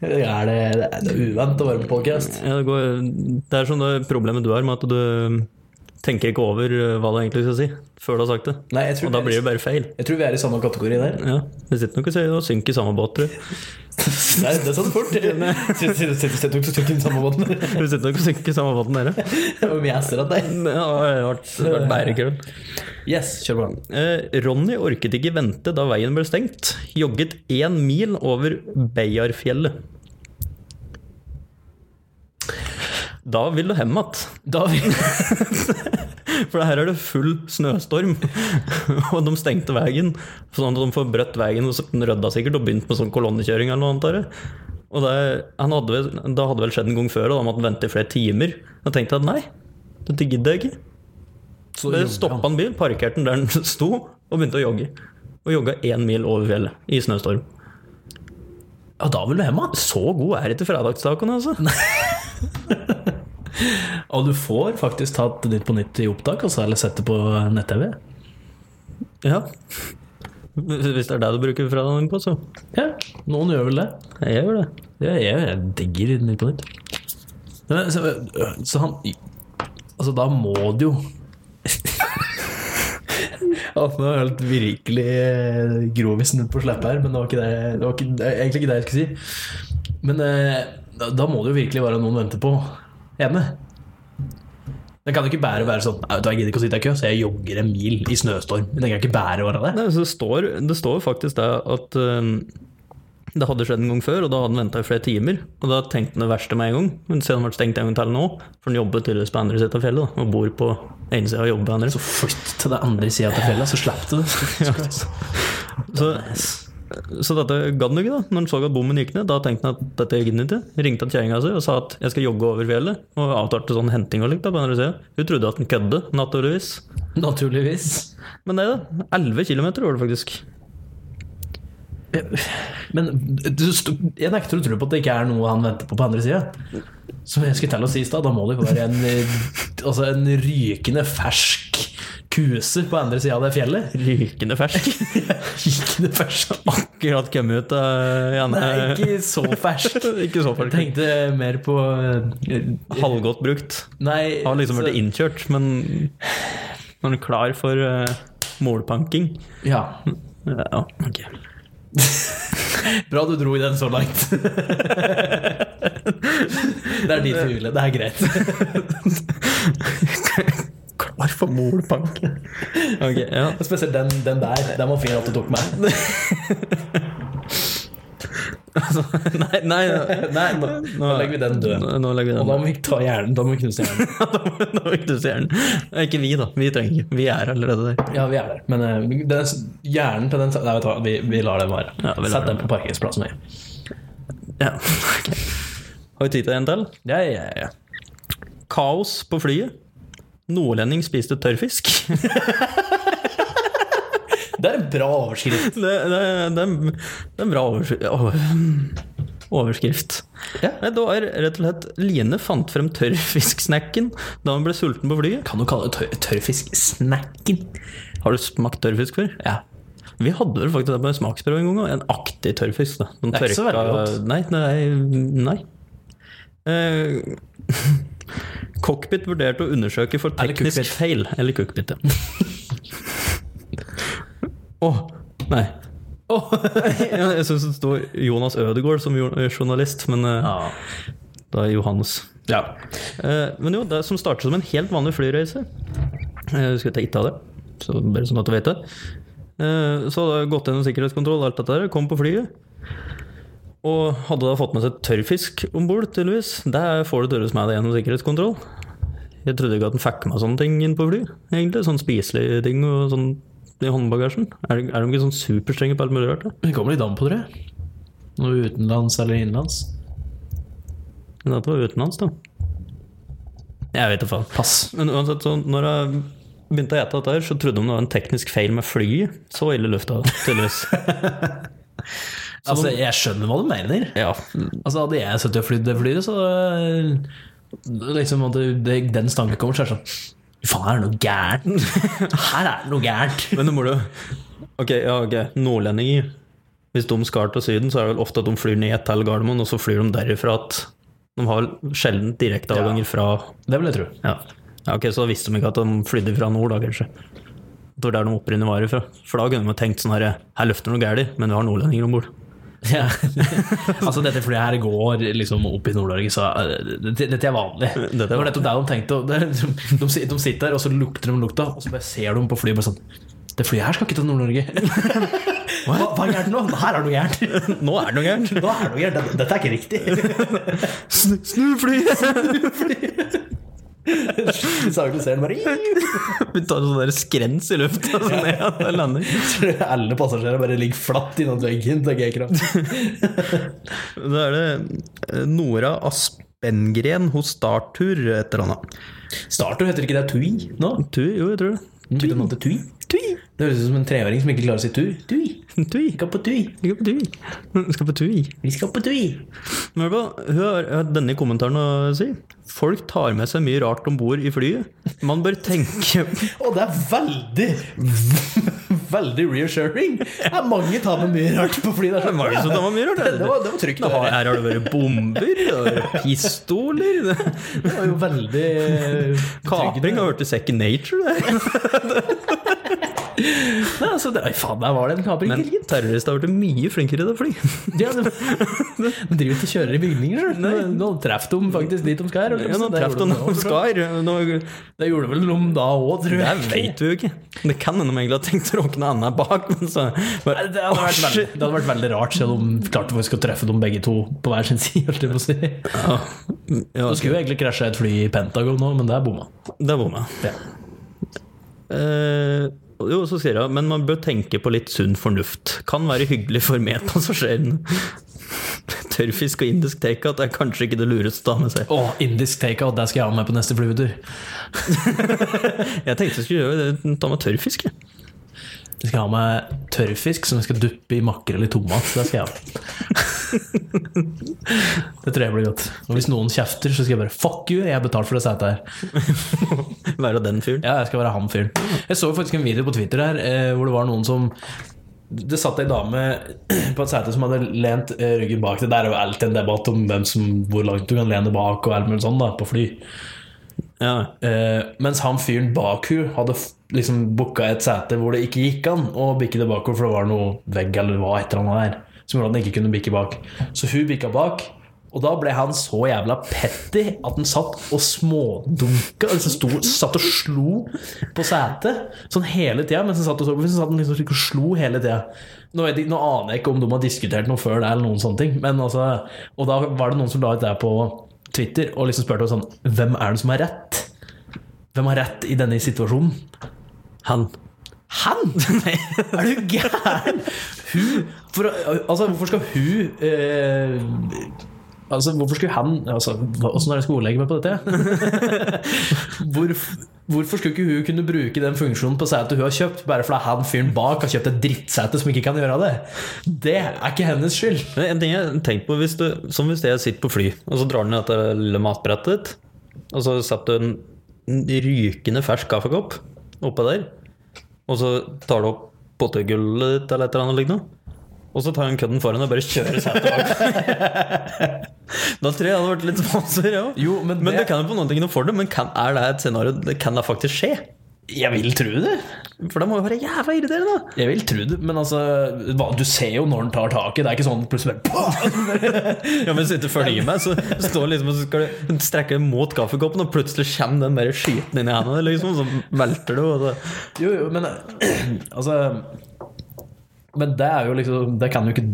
S1: Ja, er det, det er- det er uvant å være med på podcast.
S2: Ja, det, går, det er sånn det problemet du har med at du tenker ikke over eh, hva du egentlig skal si, før du har sagt det.
S1: Nei, jeg tror,
S2: og da blir det bare feil.
S1: jeg tror vi er i samme kategori der.
S2: Ja, Det sitter nok og sier og synker i samme båt, tror jeg.
S1: Nei, det er sånn fort. Sett dere til samme båten.
S2: Du sitter nok og synker i samme båt enn dere.
S1: Om jeg ser at det er
S2: Det har vært, vært bedre kveld.
S1: Yes, kjør på.
S2: Eh, Ronny orket ikke vente da veien ble stengt. Jogget én mil over Beiarfjellet. Da vil du hjem igjen.
S1: Da vi
S2: For her er det full snøstorm, og de stengte veien. Sånn at de får brøtt veien, og så den rødda sikkert og begynte med sånn kolonnekjøring eller noe annet. Der. Og det, han hadde vel, det hadde vel skjedd en gang før, og da måtte han vente i flere timer. Da tenkte jeg at nei, dette gidder jeg ikke.
S1: Så
S2: Så
S1: jobber
S2: stoppa en bil, parkerte den der den sto, og begynte å jogge. Og jogga én mil over fjellet i snøstorm.
S1: Ja, da vil du hjem igjen.
S2: Så god er ikke fredagstacoen, altså.
S1: Og du får faktisk tatt Nytt på nytt i opptak, altså, eller sett det på nett-TV.
S2: Ja. Hvis det er det du bruker fredagen på, så.
S1: Ja, noen gjør vel det.
S2: Jeg gjør det.
S1: Ja, jeg, jeg digger Nytt på nytt. Men, eh, så, så han Altså, da må det jo Altså, nå er jeg helt virkelig eh, grovisen på slippet her, men det var, ikke det, det var ikke, det er egentlig ikke det jeg skulle si. Men eh, da- da må det jo virkelig være noen venter på hjemme. Det kan jo ikke bare være sånn «Nei, vet du, hva, Jeg gidder ikke å sitte i kø, så jeg jogger en mil i snøstorm. Men det kan ikke bare være det.
S2: Nei, så det står, det står faktisk det at eh, Det hadde skjedd en gang før, og da hadde han venta i flere timer. Og da tenkte han det verste med en gang, men siden han ble stengt en gang til nå, for han jobber tydeligvis på andre siden av fjellet, da, og bor på ene sida og jobber på andre.
S1: Så flytt til den andre sida av fjellet, så slipper du det.
S2: Så, så dette gadd han ikke, da. Når han så at bommen gikk ned, da tenkte han at dette gikk han ikke. Ringte han kjerringa si og sa at jeg skal jogge over fjellet, og avtalte sånn henting og likt da, på andre sida. Hun trodde at han kødde, naturligvis.
S1: Naturligvis.
S2: Men nei da, 11 km var det faktisk.
S1: Men du, sto- jeg nekter å tro på at det ikke er noe han venter på på andre sida. Som jeg skulle til å si i stad, da må det jo være en, eh, altså en rykende fersk kuse på andre sida av det fjellet.
S2: Rykende fersk.
S1: Rykende fersk.
S2: Akkurat kommet ut av
S1: Nei,
S2: Janne.
S1: ikke så fersk.
S2: Ikke så
S1: Jeg
S2: fersk.
S1: tenkte mer på eh,
S2: Halvgodt brukt.
S1: Nei
S2: Har liksom
S1: så-
S2: vært innkjørt, men når du er klar for eh, målpanking
S1: Ja.
S2: Ja, ok.
S1: Bra du dro i den så langt. det er ditt hvile. Det er greit.
S2: Klar for målpanking? Ok, ja.
S1: Spesielt den, den der. Den var fin at du tok meg.
S2: Altså, Nei, nei, nå,
S1: Nei, nå, nå legger vi den død.
S2: Nå, nå legger vi
S1: Og da
S2: den.
S1: må vi ta hjernen. Da må vi knuse hjernen.
S2: Nå vil du se den. Ikke vi, da. Vi trenger ikke. Vi er allerede der.
S1: Ja, vi er der. Men eh, den, hjernen til den Nei, vet du hva, vi, vi lar den være.
S2: Ja, vi lar
S1: Sett
S2: den
S1: den på parkeringsplassen. jeg.
S2: Ja, ok. Har vi tid til en til?
S1: Ja, ja, ja.
S2: Kaos på flyet. Nordlending spiste tørrfisk.
S1: Det er en bra overskrift.
S2: Det, det, det, er- det er en bra overskrift. overskrift.
S1: Ja.
S2: Nei, Det var rett og slett Line fant frem tørrfisksnacken da hun ble sulten på flyet.
S1: Kan du kalle det tør tørrfisk-snacken?
S2: Har du smakt tørrfisk før?
S1: Ja.
S2: Vi hadde vel faktisk det på en smaksprøve en gang. også. En aktig tørrfisk. Da. Den
S1: Det er ikke så
S2: tørka-
S1: veldig godt.
S2: Nei. nei, nei. Eh, cockpit vurderte å undersøke for
S1: Eller
S2: teknisk
S1: cookpit.
S2: feil. Eller cookpit, ja. Å, nei. jeg jeg syns det står Jonas Ødegaard som jo- journalist, men eh,
S1: Ja.
S2: da er Johannes.
S1: ja.
S2: Eh, Men jo, det som startet som en helt vanlig Eh, flyreise Jeg husker ikke av det, så bare sånn at du vet det. Eh, Så hadde jeg gått gjennom sikkerhetskontroll, alt dette der, kom på flyet. Og hadde da fått med seg tørrfisk om bord, tydeligvis. Det får du tydeligvis med deg gjennom sikkerhetskontroll. Jeg trodde ikke at den fikk med sånne ting inn på fly, egentlig. Sånn spiselige ting og sånn i håndbagasjen. Er, de- er de ikke sånn superstrenge på alt mulig rart? da?
S1: Det kommer litt an på, tror jeg. Noe utenlands eller innenlands.
S2: Men dette var utenlands, da. Jeg vet da faen.
S1: Pass.
S2: Men uansett, så når jeg begynte å ete dette, her, så trodde de det var en teknisk feil med flyet. Så ille lufta, tydeligvis.
S1: Altså, jeg skjønner hva du mener.
S2: Ja.
S1: Altså, hadde jeg sittet og flydd det flyet, så øh, liksom, at det- det, Den stanken kommer, så er det sånn Faen, er det noe gærent? Her er det noe gærent!
S2: Men det må du Ok, ja, ok. Nordlendinger. Hvis de skal til Syden, så er det vel ofte at de flyr ned til Gardermoen, og så flyr de derifra at De har vel sjelden direkteavganger fra
S1: Det vil jeg tro.
S2: ja. ja, ok, så visste de ikke at de flydde fra nord, da, kanskje. Det var der de opprinnelig var ifra. For da kunne de tenkt sånn her Her løfter noe galt, men vi har nordlendinger om bord.
S1: Ja. altså, dette flyet her går liksom opp i Nord-Norge, så øh, dette, dette er vanlig.
S2: er
S1: Det var nettopp der de tenkte. og det er- liksom, De, sit- de sitter der, og så lukter de lukta, og så bare ser de på flyet bare sånn Det flyet her skal ikke til Nord-Norge. Hva, hva er gærent nå? Her er det noe gærent.
S2: Nå er det noe gærent!
S1: Nå er det noe gærent. Dette- Dette er ikke riktig.
S2: Snu, snu flyet!
S1: Sagliseren bare
S2: Vi tar sånn der skrens i lufta så ned at det lander.
S1: Alle passasjerer bare ligger flatt innom veggen. tenker jeg ikke da.
S2: Da er det eh, Nora Aspengren hos Starttur et eller annet.
S1: Starter heter ikke det Tui nå?
S2: Tur? Jo, jeg tror det.
S1: Bytter navn til Tui? Tui. Det høres ut som en treåring som ikke klarer å si Tui. Tui.
S2: Tui.
S1: Vi skal på Tui.
S2: Vi skal på tui. Vi skal på tui.
S1: Vi skal på Tui.
S2: Men hør på, hun har hun har denne kommentaren å si. Folk tar med seg mye rart om bord i flyet. Man bør tenke
S1: Og det er veldig Veldig reassuring. Det er mange tar med mye rart på fly. Det er sånn,
S2: Var det som det var mye rart?
S1: Det var, det var trygt. å
S2: Her
S1: høre.
S2: har det vært bomber, det har vært pistoler
S1: Det var jo veldig eh,
S2: Kapring har vært i second nature, det.
S1: Nei, altså, det, oi, faen, der var det en kaper i
S2: Men
S1: krigen.
S2: terrorister har blitt mye flinkere til å fly.
S1: Ja, de, de driver ikke og kjører i bygninger, sjøl. Nå, nå traff de faktisk dit de skal. eller?
S2: Ja, nå
S1: Så det
S2: traff de
S1: gjorde de
S2: noen
S1: også.
S2: skar. Nå,
S1: Det gjorde vel de da òg, tror
S2: det
S1: jeg.
S2: vet du jo ikke. Det kan hende de egentlig har tenkt å råkne annet bak, men så
S1: Nei,
S2: bare,
S1: Det hadde, vært veldig, det hadde vært veldig rart, selv om klart vi skal treffe dem begge to på hver sin side. holdt jeg på å si. Det
S2: ja, ja,
S1: skulle jo egentlig krasje et fly i Pentagon nå, men der bomma.
S2: Det var meg.
S1: Ja.
S2: Eh, jo, så sier jeg, men man bør tenke på litt sunn fornuft. Kan være hyggelig for medpassasjerene. Tørrfisk og indisk takeout er kanskje ikke det lureste å ha med seg.
S1: Å, indisk takeout, det skal jeg ha med på neste flyvetur.
S2: Jeg tenkte jeg skulle gjøre det, ta med tørrfisk. jeg.
S1: Jeg skal ha med tørrfisk som jeg skal duppe i makrell i tomat. Det skal jeg ha med. Det tror jeg blir godt. Og hvis noen kjefter, så skal jeg bare fuck you, jeg har betalt for det setet her.
S2: Være den fyren.
S1: Ja, jeg skal være han fyren. Jeg så faktisk en video på Twitter her eh, hvor det var noen som det satt ei dame på et sete som hadde lent eh, ryggen bak. Det der er jo alltid en debatt om hvem som, hvor langt du kan lene bak og alt mulig sånn da, på fly.
S2: Ja.
S1: Eh, mens han fyren bak hun hadde f- liksom booka et sete hvor det ikke gikk an å bikke det bakover, for det var noe vegg eller hva et eller annet der som gjorde at han ikke kunne bikke bak. Så hun bikka bak, og da ble han så jævla petty at han satt og smådunka. Altså sto, satt og slo på setet sånn hele tida mens han satt og så på. Så satt han liksom slik og slo hele tida. Nå, vet jeg- nå aner jeg ikke om de har diskutert noe før det, eller noen sånne ting. Men altså, og da var det noen som la ut det her på Twitter og liksom spurte sånn Hvem er det som har rett? Hvem har rett i denne situasjonen?
S2: Han.
S1: Han! er du gæren? Hun for, Altså, hvorfor skal hun eh, Altså, hvorfor skulle han altså, hva- Åssen er det jeg skal ordlegge meg på dette? Hvorf, hvorfor skulle ikke hun kunne bruke den funksjonen på setet hun har kjøpt, bare fordi han fyren bak har kjøpt et drittsete som ikke kan gjøre det? Det er ikke hennes skyld.
S2: Men En ting jeg tenkte på, hvis du, som hvis jeg sitter på fly, og så drar du ned dette lille matbrettet ditt, og så setter du en rykende fersk kaffekopp oppå der, og så tar du opp potegullet ditt eller et eller annet lignende, og så tar du en kødden foran deg og bare kjører setet bak. da tror jeg det hadde vært litt vanskeligere, jeg òg.
S1: Jo, men
S2: Men
S1: det-
S2: du kan jo på noen ting noe for det, men kan, er det et scenario det- Kan det faktisk skje?
S1: Jeg vil tro det.
S2: For det må jo være jævla irriterende! da.
S1: Jeg vil tro det, men altså hva- Du ser jo når han tar taket. Det er ikke sånn plutselig bare
S2: Ja, men sitter og følger meg, så står liksom og så skal du strekke deg mot kaffekoppen, og plutselig kommer den bare skyten inn i hendene, liksom, så velter du, og så
S1: Jo, jo, men altså Men det er jo liksom Det kan jo ikke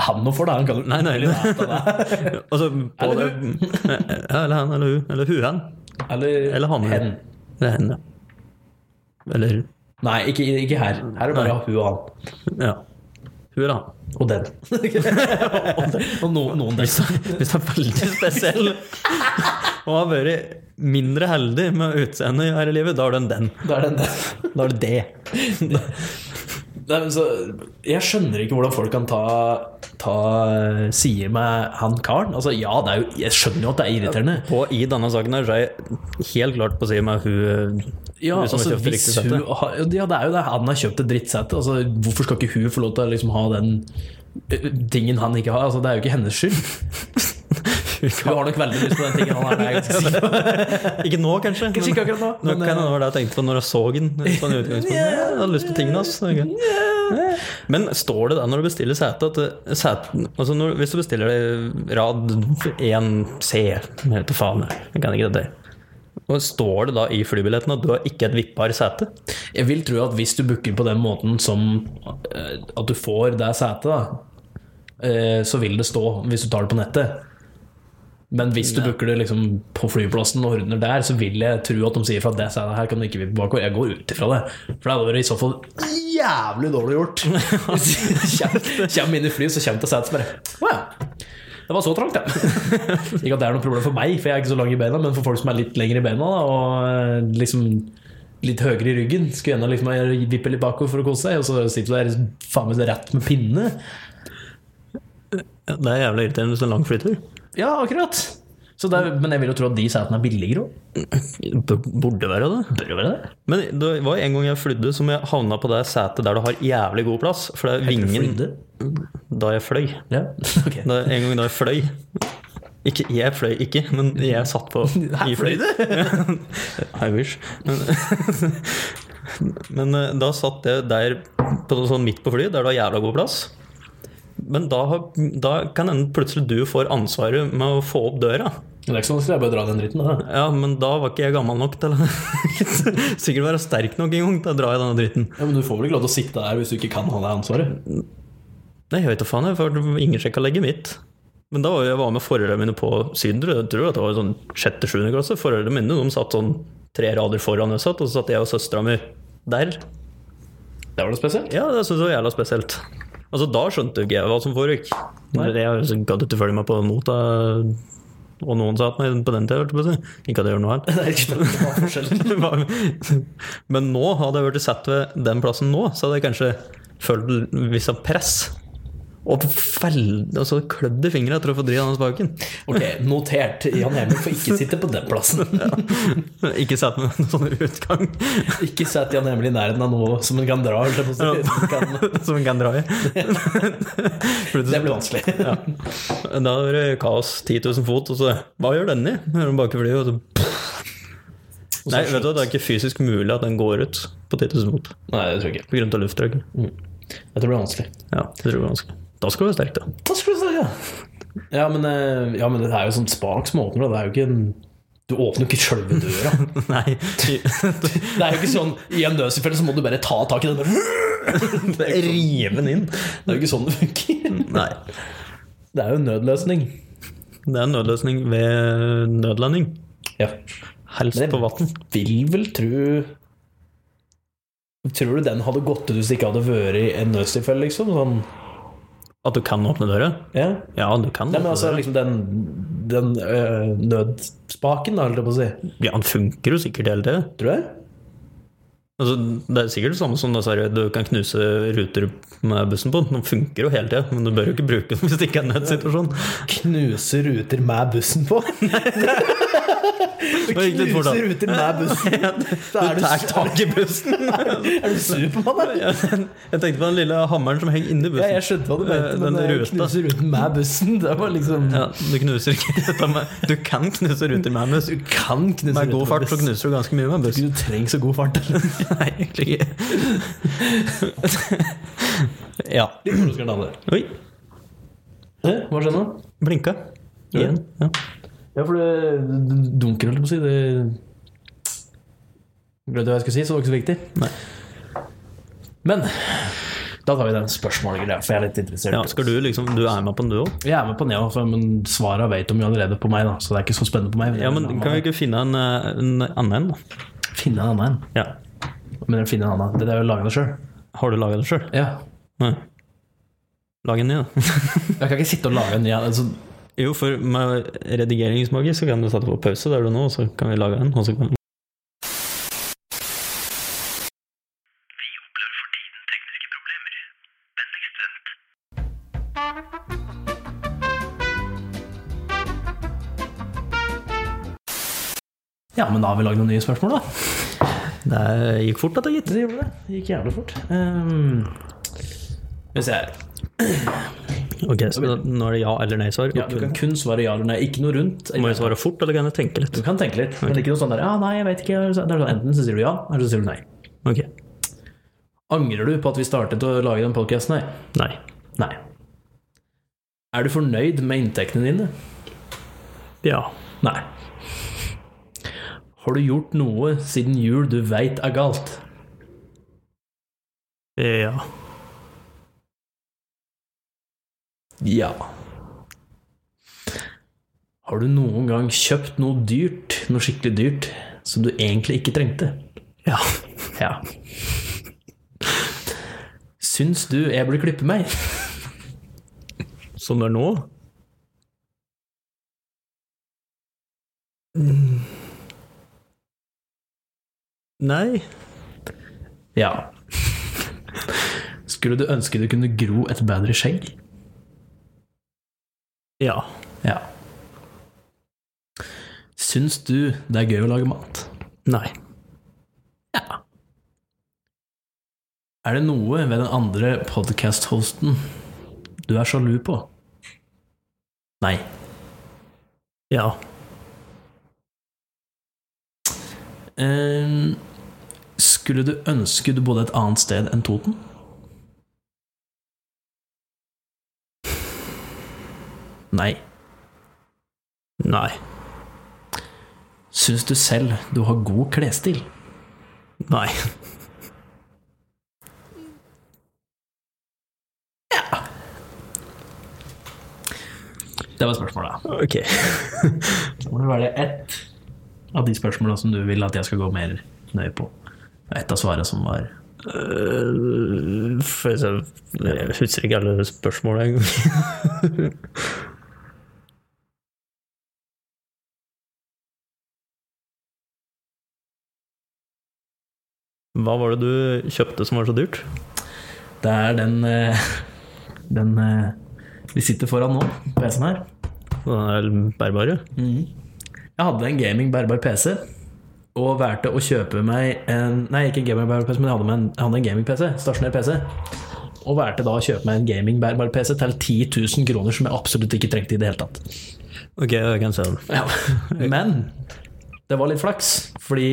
S1: han noe for, da. Han kan jo
S2: Nei, nei.
S1: vite det.
S2: Og så på
S1: Eller
S2: Ja, eller han, eller hun, eller hun, hen.
S1: Eller,
S2: Eller han.
S1: hen.
S2: Det er hen, ja. Eller
S1: Nei, ikke, ikke her. Her er det bare
S2: Nei.
S1: hun og han.
S2: Ja. Hun eller han.
S1: Og den. Liksom. og den. Og no, noen
S2: Hvis
S1: der.
S2: du hvis du er veldig spesiell og har vært mindre heldig med utseendet her i livet, da har du en den.
S1: Da er den den.
S2: Da er det det.
S1: Nei, men så, jeg skjønner ikke hvordan folk kan ta, ta sider med han karen. Altså, ja, det er jo, jeg skjønner jo at det er irriterende.
S2: På, I denne saken her så er jeg helt klart på å si meg hun,
S1: Ja,
S2: hun
S1: altså,
S2: som har kjøpt det
S1: hvis
S2: riktige
S1: hun
S2: settet.
S1: har, ja, det er jo det. Han har kjøpt et drittsete. Altså, hvorfor skal ikke hun få lov til å liksom, ha den eh, tingen han ikke har? Altså, det er jo ikke hennes skyld. Hun har nok veldig lyst på den tingen han har. det er jeg ganske sikker på.
S2: altså. Ikke nå, kanskje. men-
S1: Kanskje ikke akkurat nå,
S2: Nå
S1: men,
S2: kan
S1: eh,
S2: det være det jeg tenkte på når jeg så den. Sånn i utgangspunktet. Ja, jeg hadde lyst på tingene altså. hans. Ok. Men står det der når du bestiller sete at eh, seten, altså når, Hvis du bestiller det i rad 1C Jeg vet da faen, jeg. jeg kan ikke det. Og Står det da i flybilletten at du har ikke et vippbar sete?
S1: Jeg vil tro at hvis du booker på den måten som eh, at du får det setet, da, eh, så vil det stå hvis du tar det på nettet. Men hvis du booker det liksom på flyplassen og ordner der, så vil jeg tro at de sier fra det setet her kan du ikke vippe bakover. Jeg går ut ifra det. For det hadde vært i så fall jævlig dårlig gjort. Hvis jeg Kommer inn i flyet, så kommer det setet som bare Wow! Det var så trangt, ja. Ikke at det er noe problem for meg, for jeg er ikke så lang i beina, men for folk som er litt lengre i beina, da, og eh, liksom litt høyere i ryggen, skulle gjerne liksom vippe litt bakover for å kose seg, og så sitter du der faen meg rett med pinne.
S2: Ja, Det er jævlig irriterende hvis det er en lang flytur.
S1: Ja, akkurat. Så det er, men jeg vil jo tro at de setene er billigere òg.
S2: B- Burde være det.
S1: Bør jo være det.
S2: Men det var en gang jeg flydde som jeg havna på det setet der du har jævlig god plass. For det er vingen
S1: Flydde.
S2: da jeg fløy.
S1: Ja, ok.
S2: da, En gang da jeg fløy ikke, Jeg fløy ikke, men jeg satt på
S1: Her
S2: i
S1: fløy
S2: fløy. I wish. Men, Men eh, da satt jeg der på, sånn midt på flyet, der det var jævla god plass. Men da, har- da kan hende plutselig du får ansvaret med å få opp døra.
S1: Det er ikke så vanskelig, jeg bare drar den dritten. Da.
S2: Ja, men da var ikke jeg gammel nok til å sikkert være sterk nok en gang til å dra i denne dritten.
S1: Ja, men du får vel ikke lov til å sitte der hvis du ikke kan ha det ansvaret?
S2: Nei, jeg vet da faen, jeg, for ingen sjekka legget mitt. Men da var jeg var med forholdene mine på Syden, jeg tror at det var sånn sjette-sjuende klasse. Forholdene mine de satt sånn tre rader foran jeg satt, og så satt jeg og søstera mi der.
S1: Det var det spesielt.
S2: Ja, det synes jeg var jævla spesielt. Altså, da skjønte jo ikke jeg hva som foregikk. Jeg gadd ikke følge meg på nota, og noen sa at meg på den tida, hørte jeg på å si. Ikke at jeg gjør noe her.
S1: Det er ikke noe forskjell.
S2: Det var- Men nå hadde jeg vært satt ved den plassen nå, så hadde jeg kanskje følt visst av press. Og veldig altså, klødd i fingra etter å få dritt av den spaken.
S1: Ok, notert. Jan Emil får ikke sitte på den plassen.
S2: Ikke sett med en sånn utgang
S1: Ikke sett Jan Emil i nærheten av noe som en kan dra. Eller noe sånt. Som kan...
S2: som en kan dra i.
S1: Det blir vanskelig.
S2: Ja. Da er det kaos 10 000 fot, og så Hva gjør den i? Hører den bak i flyet, og så
S1: så
S2: Nei, vet du, hva, det er ikke fysisk mulig at den går ut på 10 000 fot
S1: Nei, det tror jeg ikke.
S2: pga. lufttrykket.
S1: Jeg tror det blir vanskelig.
S2: Ja, det tror jeg er vanskelig. Da skal du være sterk, da.
S1: Da skal du si, ja. Ja, men, eh, ja, men det er jo sånn spak som åpner, da. Det er jo ikke en du åpner jo ikke sjølve døra.
S2: Nei.
S1: Det er jo ikke sånn I en nødstilfelle så må du bare ta tak i den døra.
S2: Rive den inn.
S1: sånn.
S2: Mm.
S1: Det er jo ikke sånn det funker.
S2: Nei.
S1: Det er jo en nødløsning.
S2: Det er en nødløsning ved nødlanding.
S1: Ja.
S2: Helst
S1: Men det-
S2: på vann.
S1: Vil vel tru Tror du den hadde gått ut hvis det ikke hadde vært en nødstilfelle, liksom? Sånn,
S2: At du kan åpne døra?
S1: ja.
S2: Ja, du kan.
S1: Nei, men
S2: åpne
S1: altså
S2: døra.
S1: liksom den, den øh, nødspaken, da, holdt jeg på å si.
S2: Ja, den funker jo sikkert hele tida.
S1: Tror jeg.
S2: Altså, det er sikkert det samme som det, seriøst, du kan knuse ruter med bussen på. Den funker jo hele tida, men du bør jo ikke bruke den hvis det ikke er en nødsituasjon.
S1: Knuse ruter med bussen på. Du
S2: Det gikk litt fort, da.
S1: knuser ruter med bussen. Da er
S2: Du
S1: du,
S2: tar tak i bussen!
S1: er du Supermann, eller?
S2: Jeg tenkte på den lille hammeren som henger inni
S1: Ja,
S2: bussen.
S1: jeg skjønte hva du mente,
S2: Den
S1: men eh,
S2: ruta.
S1: knuse ruten med bussen, det var liksom
S2: Ja, du knuser ikke dette med Du kan knuse ruter med buss.
S1: Du kan knuse
S2: Med god
S1: ruter
S2: fart så
S1: bussen.
S2: knuser du ganske mye med buss.
S1: Du trenger så god fart. eller?
S2: Nei, egentlig ikke. ja.
S1: Litt hvordan skal den ha det?
S2: Oi,
S1: Eh, Hva skjer nå?
S2: blinka. Igjen. Ja.
S1: Ja, for det det dunker, holdt jeg på å si. Det Glemte hva jeg skulle si, så det var ikke så viktig.
S2: Nei.
S1: Men da tar vi den spørsmålgreia, for jeg er litt interessert.
S2: ja, skal du liksom Du er med på den, du òg?
S1: Jeg er med på Neo, for- men svara vet de jo allerede på meg, da, så det er ikke så spennende på meg.
S2: Ja, men kan vi ikke finne en, eh, en annen en, da?
S1: Finne en annen en.
S2: Ja.
S1: Men jeg finner en annen. Det er jo laga det sjøl.
S2: Har du laga den sjøl?
S1: Ja.
S2: Nei. Lag en ny, da.
S1: Jeg kan ikke sitte og lage en ny altså,
S2: Jo, for med redigeringsmagi så kan du sette på pause der du er nå, og så kan vi lage en. Og så kan...
S1: Ja, men da har vi lagd noen nye spørsmål, da.
S2: Det er- gikk fort, dette, gitt.
S1: Det gjorde det. Det gikk jævlig fort. Ehm, Skal vi se her.
S2: Ok, så da- nå er det ja eller nei-svar.
S1: Ja, du kan kun svare ja eller nei. Ikke noe rundt.
S2: Må jeg svare fort, eller kan jeg tenke litt?
S1: Du kan tenke litt, men ikke noe sånn der Ja, nei, jeg vet ikke. Det er sånn, enten så sier du ja, eller så sier du nei.
S2: Ok.
S1: Angrer du på at vi startet å lage den podkasten her?
S2: Nei.
S1: Nei. Er du fornøyd med inntektene dine?
S2: Ja.
S1: Nei. Har du gjort noe siden jul du veit er galt?
S2: Ja.
S1: Ja. Har du noen gang kjøpt noe dyrt, noe skikkelig dyrt, som du egentlig ikke trengte?
S2: Ja.
S1: Ja. Syns du jeg burde klippe meg?
S2: Som det er nå? Nei.
S1: Ja. Skulle du ønske du kunne gro et bedre skjegg?
S2: Ja.
S1: Ja. Syns du det er gøy å lage mat?
S2: Nei.
S1: Ja. Er det noe ved den andre podcast-hosten du er sjalu på? Nei.
S2: Ja.
S1: Ehm, sk Skulle du ønske du bodde et annet sted enn Toten? Nei.
S2: Nei.
S1: Syns du selv du har god klesstil?
S2: Nei.
S1: Det var spørsmålet.
S2: Ok.
S1: Må det være ett av de spørsmåla som du vil at jeg skal gå mer nøye på? Ett av svarene som var
S2: Øh, for jeg jeg husker ikke alle spørsmålene engang. Hva var det du kjøpte som var så dyrt?
S1: Det er den eh, Den eh, vi sitter foran nå, PC-en her.
S2: Den der bærbare?
S1: Jeg hadde en gaming bærbar PC og valgte å kjøpe meg en Nei, ikke en gaming bærbar PC, men jeg hadde, meg en, jeg hadde en gaming PC. Stasjonær PC. Og valgte da å kjøpe meg en gaming bærbar PC til 10 000 kroner, som jeg absolutt ikke trengte i det hele tatt.
S2: Ok, jeg kan se den.
S1: Men det var litt flaks, fordi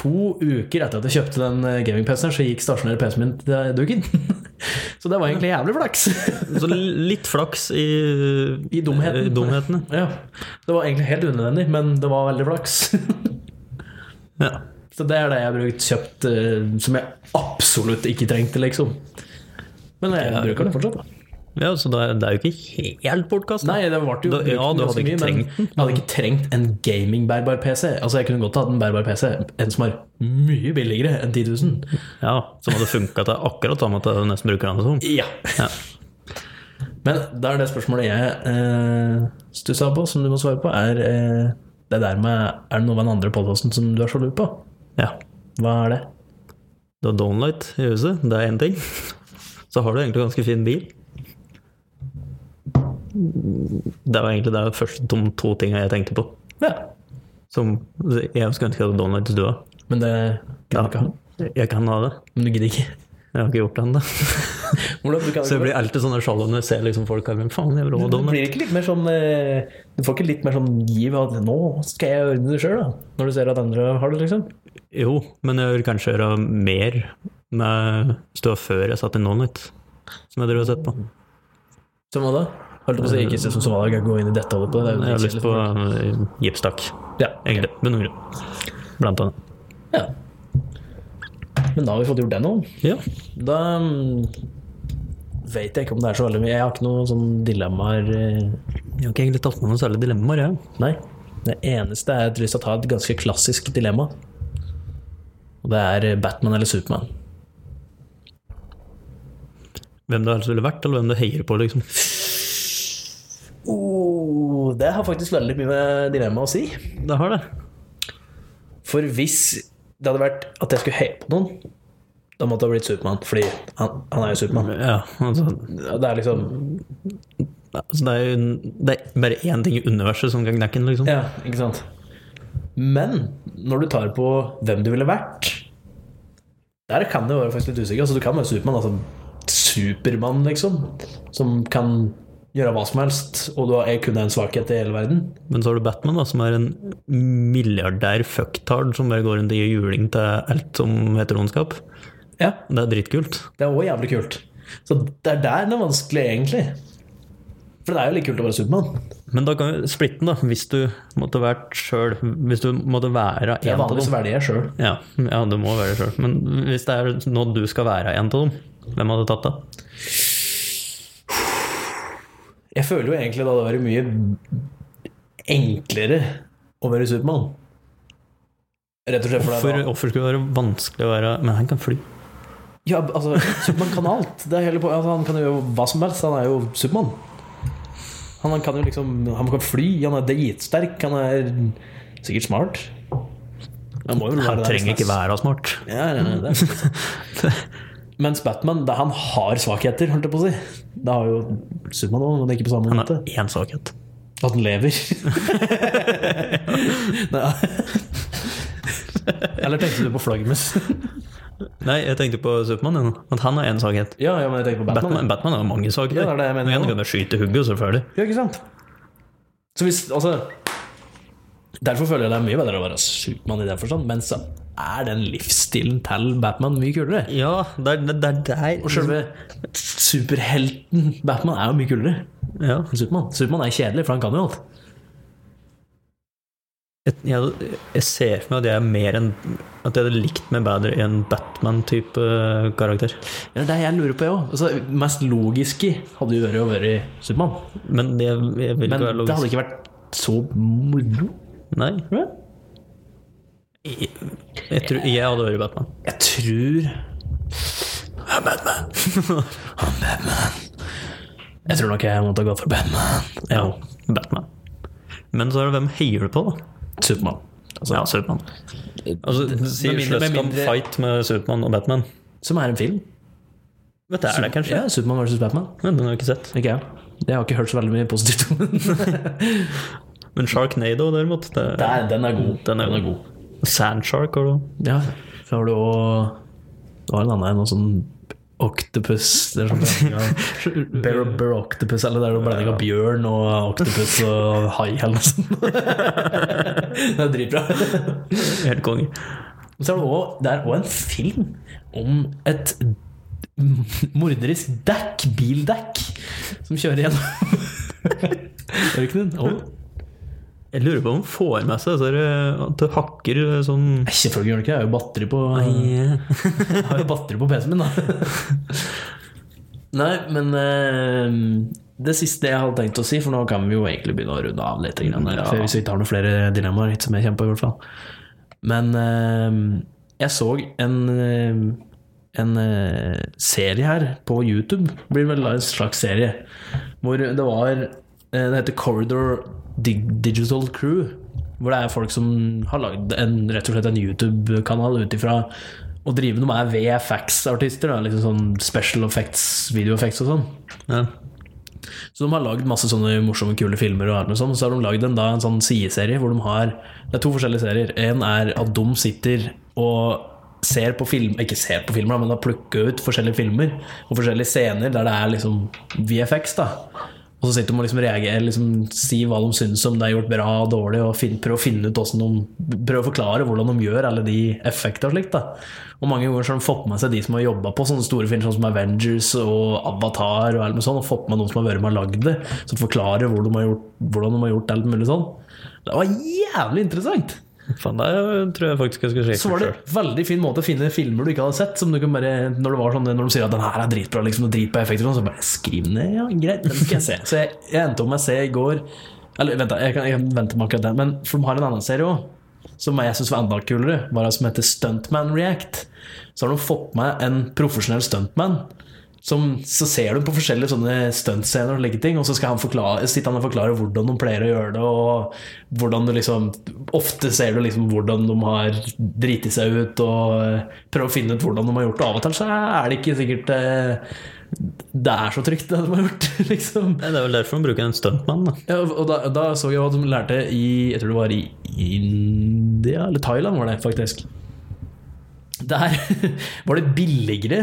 S1: to uker etter at jeg kjøpte den eh, gaming-PC-en, så gikk stasjonær PC-en min til duken. Så det var egentlig jævlig flaks.
S2: Så litt flaks i,
S1: I dumheten.
S2: i dumhetene.
S1: Ja, Det var egentlig helt unødvendig, men det var veldig flaks.
S2: Ja.
S1: Så det er det jeg har brukt kjøpt eh, som jeg absolutt ikke trengte, liksom. Men jeg bruker det fortsatt. da
S2: ja, så det er, det er jo ikke helt bortkastet.
S1: Nei, det ble jo
S2: Da-
S1: brukt
S2: ja, du hadde
S1: ganske
S2: ikke
S1: mye, men
S2: trengt den.
S1: Jeg hadde ikke trengt en gaming-bærbar PC. Altså, Jeg kunne godt hatt en bærbar PC, en som er mye billigere enn 10 000.
S2: Ja, som hadde funka til akkurat samme til nesten brukerne som.
S1: Ja. Men da er det spørsmålet jeg eh, stussa på, som du må svare på, er eh, det der med Er det noe med den andre podkasten som du er sjalu på?
S2: Ja.
S1: Hva er det?
S2: Du har downlight i huset, det er én ting. Så har du egentlig ganske fin bil. Det var egentlig det første de to tinga jeg tenkte på.
S1: Ja.
S2: Som jeg skulle ønske jeg hadde downlight i stua.
S1: Men det kan du ikke ha.
S2: Jeg kan ha det.
S1: Men du gidder ikke.
S2: Jeg har ikke gjort det ennå.
S1: Hvordan, du kan
S2: Så jeg
S1: ikke
S2: blir alltid sånn sjalu når jeg ser liksom folk her. Men faen, jeg vil ha
S1: Du
S2: downlight.
S1: blir ikke litt mer sånn eh, Du får ikke litt mer sånn giv av at 'nå skal jeg ordne det sjøl', da? Når du ser at andre har det, liksom?
S2: Jo, men jeg vil kanskje gjøre mer med stua før jeg satt i downlight. Som jeg drev og sett på.
S1: Som hva da? Holdt på å si ikke sånn som hva da, jeg går inn i dette på det.
S2: Jeg har lyst på eh, gipstak.
S1: Ja.
S2: Egentlig. Med noen grunn. Blant annet.
S1: ja. Men da har vi fått gjort det nå.
S2: Ja.
S1: Da mm, vet jeg ikke om det er så veldig mye. Jeg har ikke noen sånn dilemmaer. eh,
S2: Jeg har ikke egentlig tatt med noen særlige dilemmaer, jeg.
S1: Nei. Det eneste er at jeg har lyst til å ta et ganske klassisk dilemma. Og det er eh, Batman eller Supermann.
S2: Hvem det helst ville vært, eller hvem du heier på, liksom.
S1: Oh, det har faktisk veldig mye med dilemma å si.
S2: Det har det.
S1: For hvis det hadde vært at jeg skulle heie på noen, da måtte det ha blitt Supermann. Fordi han, han er jo Supermann.
S2: Ja, altså,
S1: Det er liksom
S2: altså det, er, jo- det er bare én ting i universet som kan knekke den, liksom.
S1: Ja, ikke sant. Men når du tar på hvem du ville vært Der kan det være faktisk litt usikker. Altså, du kan være Supermann. Altså Supermann, liksom. Som kan gjøre hva som helst, og du er kun en svakhet i hele verden.
S2: Men så har du Batman, da, som er en milliardær fucktard som bare går rundt og gir juling til alt som heter ondskap.
S1: Ja,
S2: Det er dritkult.
S1: Det er òg jævlig kult. Så det er der det er vanskelig, egentlig. For det er jo like kult å være Supermann.
S2: Men da kan vi splitte den, da. Hvis du måtte vært sjøl. Hvis du måtte være
S1: Jeg
S2: en
S1: er
S2: av
S1: vanligvis
S2: dem.
S1: veldig jeg sjøl.
S2: Ja, ja, du må være det sjøl. Men hvis det er nå du skal være en av dem, hvem hadde tatt det?
S1: Jeg føler jo egentlig da det hadde vært mye enklere å være Supermann. Rett og slett fordi
S2: Hvorfor, hvorfor skulle det være vanskelig å være Men han kan fly.
S1: Ja, altså, Supermann kan alt. Det er hele po- altså, han kan jo hva som helst. Han er jo Supermann. Han kan jo liksom Han kan fly, han er dritsterk, han er sikkert smart. Han må jo vel
S2: Han
S1: være det
S2: trenger ikke
S1: nesten,
S2: være smart.
S1: ass. ja, ja, ja, det er sant. Mens Batman, det, han har svakheter, holdt jeg på å si. Det har jo Supermann òg, men ikke på samme
S2: Han
S1: måte.
S2: har én svakhet.
S1: At den lever. Nei. Eller tenkte du på flaggermus?
S2: Nei, jeg tenkte på Supermann igjen. At han har én svakhet.
S1: Ja, ja, men jeg tenkte på Batman.
S2: Batman, Batman har mange svakheter.
S1: Ja, det er det jeg mener
S2: Men
S1: nå.
S2: han kan jo skyte hugget, selvfølgelig.
S1: Ja, ikke sant? Så hvis, altså Derfor føler jeg det er mye bedre å være Supermann i den forstand, men så er den livsstilen til Batman mye kulere.
S2: Ja, det er det er der
S1: Og selve superhelten Batman er jo mye kulere
S2: ja.
S1: enn Supermann. Supermann er kjedelig, for han kan jo alt.
S2: jeg, jeg, jeg ser for meg at jeg er mer enn At jeg hadde likt meg bedre i en Batman-type eh, karakter.
S1: Det er det jeg lurer på, jeg òg. Altså, mest logiske hadde jo vært å være Supermann.
S2: Men jeg, jeg vil
S1: Men det
S2: ikke være
S1: hadde
S2: logisk.
S1: ikke vært så moro.
S2: Nei. Jeg, jeg, tror, jeg hadde vært Batman.
S1: Jeg tror I'm Batman. I'm Batman. Jeg tror nok jeg måtte ha gått for Batman. Ja,
S2: Batman. Men så er det hvem heier du på, da?
S1: Supermann.
S2: Altså, ja, Supermann. Altså, si
S1: med mindre- med
S2: slåsskamp,
S1: mindre-
S2: fight med Supermann og Batman.
S1: Som er en film.
S2: Vet du, er det kanskje?
S1: Ja, Supermann versus Batman.
S2: Men den har jeg ikke sett.
S1: Ikke jeg. Jeg har ikke hørt så veldig mye positivt om den.
S2: Men Sharknado, derimot det er
S1: Den er god.
S2: Den er god. Sandshark har du.
S1: Ja, så har du òg Det var en annen en, noe sånn Octopus sånn. det er sånn blanding av- Bear, bear Octopus, eller det er noe blanding av bjørn og octopus og hai eller noe sånt. Det er dritbra.
S2: Helt konge.
S1: Men så er det også, det er også en film om et morderisk dekk, bildekk, som kjører gjennom ørkenen. Og
S2: Jeg lurer på om han får med seg så er det at det hakker sånn
S1: Nei, selvfølgelig gjør det ikke det. Jeg har jo batteri på,
S2: Nei.
S1: jeg har jo batteri på PC-en min, da. Nei, men eh, det siste jeg hadde tenkt å si, for nå kan vi jo egentlig begynne å runde av litt. Grann,
S2: Ja.
S1: for Hvis vi ikke har noen flere dilemmaer hit som jeg kjemper, i hvert fall. Men eh, jeg så en eh, en eh, serie her på YouTube, blir vel da en slags serie, hvor det var eh, Det heter Corridor Dig Digital Crew. Hvor det er folk som har lagd en, rett og slett en YouTube-kanal ut ifra å drive noe med VFX-artister. da, Liksom sånn special effects, video effects og sånn.
S2: Ja.
S1: Så de har lagd masse sånne morsomme, kule filmer og alt med sånn. Så har de lagd en, da, en sånn sideserie hvor de har Det er to forskjellige serier. En er at de sitter og ser på film Ikke ser på filmer, da, men har plukka ut forskjellige filmer og forskjellige scener der det er liksom VFX, da. Og så sitter de og liksom reagerer, liksom, si hva de syns om det er gjort bra og dårlig, og fin, prøve å finne ut hvordan de Prøve å forklare hvordan de gjør alle de effektene og slikt. da. Og mange ganger så har de fått med seg de som har jobba på sånne store filmer sånn som Avengers og Avatar, og alt mulig sånn, og fått med noen som har vært med og lagd det, så de forklarer hvor de har gjort, hvordan de har gjort alt mulig sånn. Det var jævlig interessant!
S2: Faen, det tror jeg faktisk jeg skal sjekke
S1: Så var det
S2: selv.
S1: en veldig fin måte å finne filmer du ikke hadde sett. Som du kan bare, når, det var sånn, når de sier at den her er dritbra, liksom, og drit på effekter, og sånn, så bare skriv den ned. Ja, greit, den skal jeg se. Så jeg, jeg endte opp med å se i går Eller vent, da, jeg, kan, jeg venter med akkurat den. Men for de har en annen serie òg, som jeg syns var enda kulere, var det som heter Stuntman React. Så har de fått med en profesjonell stuntman. Som, så ser du på forskjellige sånne stuntscener og slike ting, og så skal han forklare, sitter han og forklare hvordan de pleier å gjøre det, og hvordan du liksom Ofte ser du liksom hvordan de har driti seg ut, og eh, prøver å finne ut hvordan de har gjort det. Av og til så er det ikke sikkert eh, det er så trygt, det de har gjort, liksom.
S2: Nei, Det er vel derfor de bruker en stuntmann, da.
S1: Ja, og da, da så jeg hva de lærte i Jeg tror det var i India, eller Thailand var det faktisk. Der var det billigere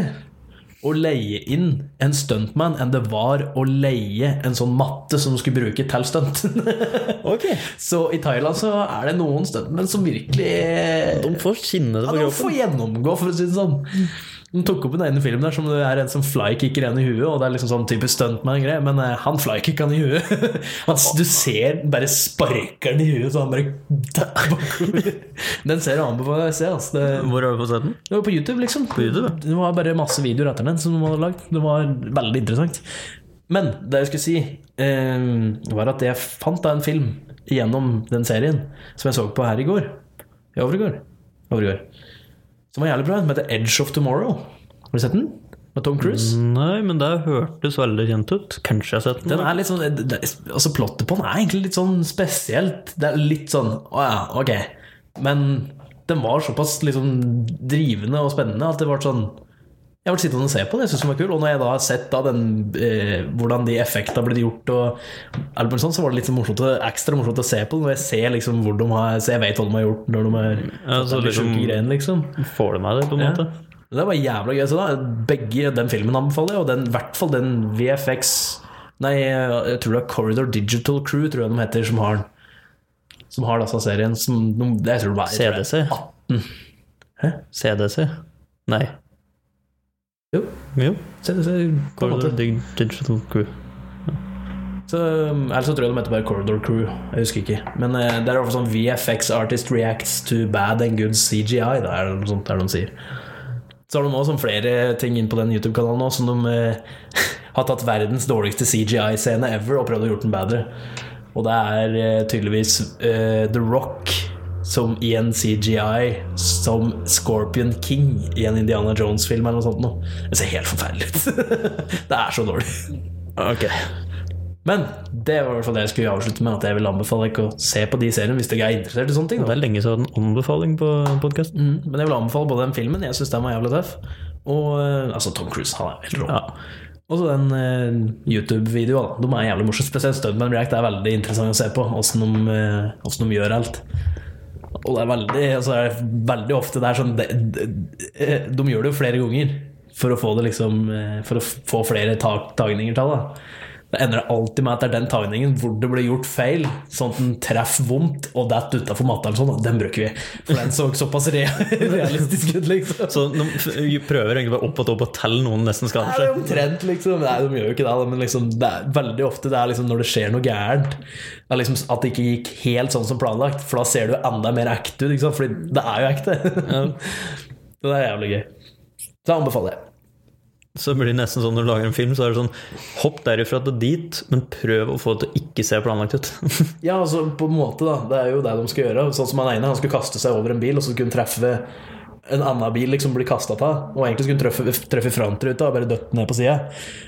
S1: å leie inn en stuntman enn det var å leie en sånn matte som du skulle bruke til stunt.
S2: Ok.
S1: Så i Thailand så er det noen stuntmenn som virkelig
S2: De får skinne det
S1: ja,
S2: på
S1: de
S2: kroppen.
S1: får gjennomgå, for å si det sånn. De tok opp en egen film der som det er en som flykicker en i huet, og det er liksom sånn type stuntman-greie, men eh, han flykicka han i huet. Han, du ser bare sparker han i huet, så han bare dæ- bakover. Den ser jeg anbefaler deg å se. Altså. Det,
S2: Hvor har du fått sett den?
S1: det var på YouTube, liksom.
S2: YouTube, ja.
S1: Det var bare masse videoer etter den som de hadde lagd. Det var veldig interessant. Men det jeg skulle si, eh, var at jeg fant da en film gjennom den serien som jeg så på her i går. I overgår. Overgår. Som var jævlig bra. Den heter Edge of Tomorrow. Har du sett den? Med Tom Cruise?
S2: Nei, men det hørtes veldig kjent ut. Kanskje jeg har sett den?
S1: Den er litt sånn det- det- Altså Plottet på den er egentlig litt sånn spesielt. Det er litt sånn Å ja, ok. Men den var såpass liksom drivende og spennende at det ble sånn Jeg ble sittende og se på den, jeg syntes den var kul. Og når jeg da har sett da den, eh, hvordan de effektene ble gjort, og alt mulig sånn, så var det litt sånn morsomt, å- ekstra morsomt å se på den. Når jeg ser liksom hvor de har Så jeg vet hva de har gjort når de har
S2: Ja,
S1: ja,
S2: så liksom-
S1: sjuke greiene, liksom.
S2: Får du med det, på en måte?
S1: Men Det var jævla gøy. Så da, begge den filmen anbefaler jeg, og den, i hvert fall den VFX Nei, jeg tror det er Corridor Digital Crew, tror jeg de heter, som har den. som har lasta serien. Som, de, jeg tror det var, jeg tror det-
S2: CDC. CDC? Nei.
S1: Jo,
S2: Jo.
S1: CDC på en
S2: Corridor
S1: måte.
S2: Dig- Digital Crew.
S1: Så, um, ellers så tror jeg de heter bare Corridor Crew. Jeg husker ikke. Men eh, det er i hvert fall sånn VFX Artist Reacts to Bad and Good CGI. Da, er det noe sånt der de sier. Så har de også sånn flere ting inn på den YouTube-kanalen nå, som de eh, har tatt verdens dårligste CGI-scene ever og prøvd å gjort den bedre. Og det er eh, tydeligvis eh, The Rock som i en CGI som Scorpion King i en Indiana Jones-film eller noe sånt. Nå. Det ser helt forferdelig ut. det er så dårlig.
S2: Ok.
S1: Men det var i hvert fall det jeg skulle avslutte med. At jeg vil anbefale ikke å se på de seriene hvis dere er interessert i sånne ting.
S2: Det
S1: Da.
S2: er lenge siden anbefaling på podkasten.
S1: Mm, Men jeg vil anbefale både den filmen, jeg syns den var jævlig tøff, og eh, altså Tom Cruise, han er jo helt rå. Og så den eh, YouTube-videoen. da. De er jævlig morsomme. Spesielt Stuntman React er veldig interessant å se på, åssen de, eh, hvordan de gjør alt. Og det er veldig, altså, det er veldig ofte det er sånn de, de, eh, de gjør det jo flere ganger for å få det liksom eh, For å få flere tak, tagninger til det. Det ender alltid med at det er den tagningen hvor det ble gjort feil, sånn at den treffer vondt og detter utafor matta eller sånn. Den bruker vi. For den så såpass re realistisk ut, liksom.
S2: Så de f- prøver egentlig bare opp og opp og telle noen nesten skader
S1: Nei, det er
S2: seg.
S1: omtrent, liksom. Nei, de gjør jo ikke det, da, men liksom, det er veldig ofte det er liksom når det skjer noe gærent. Det er liksom at det ikke gikk helt sånn som planlagt, for da ser det jo enda mer ekte ut. ikke sant? Fordi det er jo ekte. det er jævlig gøy. Så jeg anbefaler jeg.
S2: Så blir det nesten sånn når du lager en film, så er det sånn Hopp derifra til dit, men prøv å få det til å ikke se planlagt ut.
S1: Ja, altså på en måte, da. Det er jo det de skal gjøre. Sånn som han ene, han skulle kaste seg over en bil, og så skulle han treffe en annen bil liksom bli kasta av. Og egentlig skulle han treffe, treffe frontruta og bare døtte ned på sida.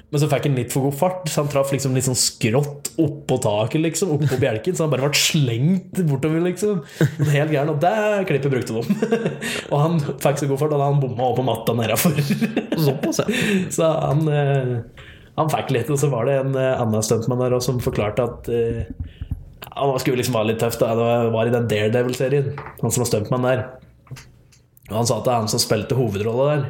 S1: Men så fikk han litt for god fart, så han traff liksom litt sånn skrått oppå taket, liksom. Oppå bjelken. Så han bare ble slengt bortover, liksom. Det er Helt gæren. Og det klippet brukte de. og han fikk så god fart, og han bomma over på matta nedafor.
S2: Såpass, ja.
S1: Så han, eh, han fikk litt, og så var det en eh, annen stuntmann der også som forklarte at eh, han skulle liksom være litt tøff. Da. Han var i den Daredevil-serien, han som var stuntmann der. Og han sa at det er han som spilte hovedrolla der.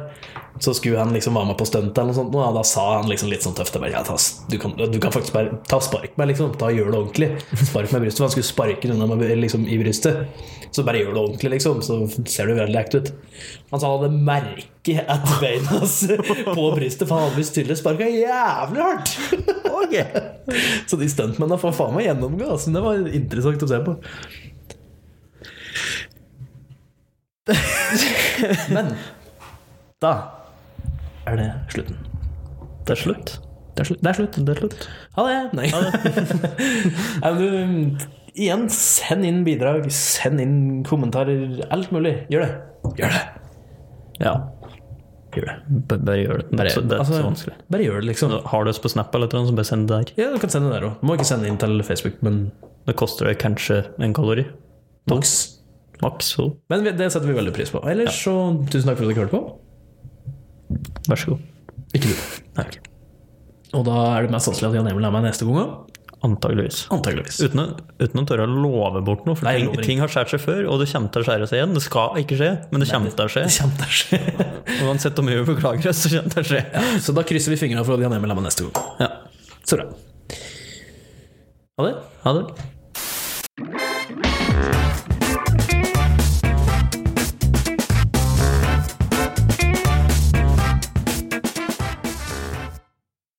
S1: Så skulle han liksom være med på stuntet, eller noe sånt, og da sa han liksom litt sånn tøft bare, ja, ta, s- du, kan, du kan faktisk bare ta spark meg, liksom. Ta, gjør det ordentlig. Spark meg i brystet. For han skulle sparke den unna meg liksom, i brystet. Så bare gjør det ordentlig, liksom. Så ser du veldig ekte ut. Han sa han hadde merke etter beina hans på brystet, for han hadde visst tydeligvis sparka jævlig hardt.
S2: Ok.
S1: Så de stuntmennene får faen meg gjennomgå. Altså. Det var interessant å se på. Men da er det slutten.
S2: Det er slutt.
S1: Det er slutt. Det er slutt.
S2: Det er slutt.
S1: Ha det! Nei. Nei, men du, igjen, send inn bidrag, send inn kommentarer. Alt mulig. Gjør det. Gjør det.
S2: Ja. Gjør det. B bare gjør det. Så det er ikke
S1: altså,
S2: så vanskelig.
S1: Bare gjør det, liksom.
S2: Har du oss på Snap eller noe, så bare send det der.
S1: Ja, du kan sende det der òg. Må ikke sende inn til Facebook, men
S2: Det koster deg kanskje en kalori.
S1: maks.
S2: Maks. så
S1: Men vi- det setter vi veldig pris på. Ellers så tusen takk for at dere hørte på.
S2: Vær så god.
S1: Ikke du.
S2: Nei, ok.
S1: Og da er det mest sannsynlig at Jan Emil er med neste gang òg.
S2: Antageligvis.
S1: Antageligvis.
S2: Uten å, uten å tørre å love bort noe, for
S1: Nei, jeg
S2: ting,
S1: lover ikke.
S2: ting har skjært seg før, og det kommer til å skjære seg igjen. Det skal ikke skje, men det kommer til å skje.
S1: Det kommer til å skje.
S2: Uansett hvor mye vi beklager oss, så kommer det til å skje.
S1: Så da krysser vi fingrene for at Jan Emil er med neste gang.
S2: Ja.
S1: Så bra. Ha det.
S2: Ha det.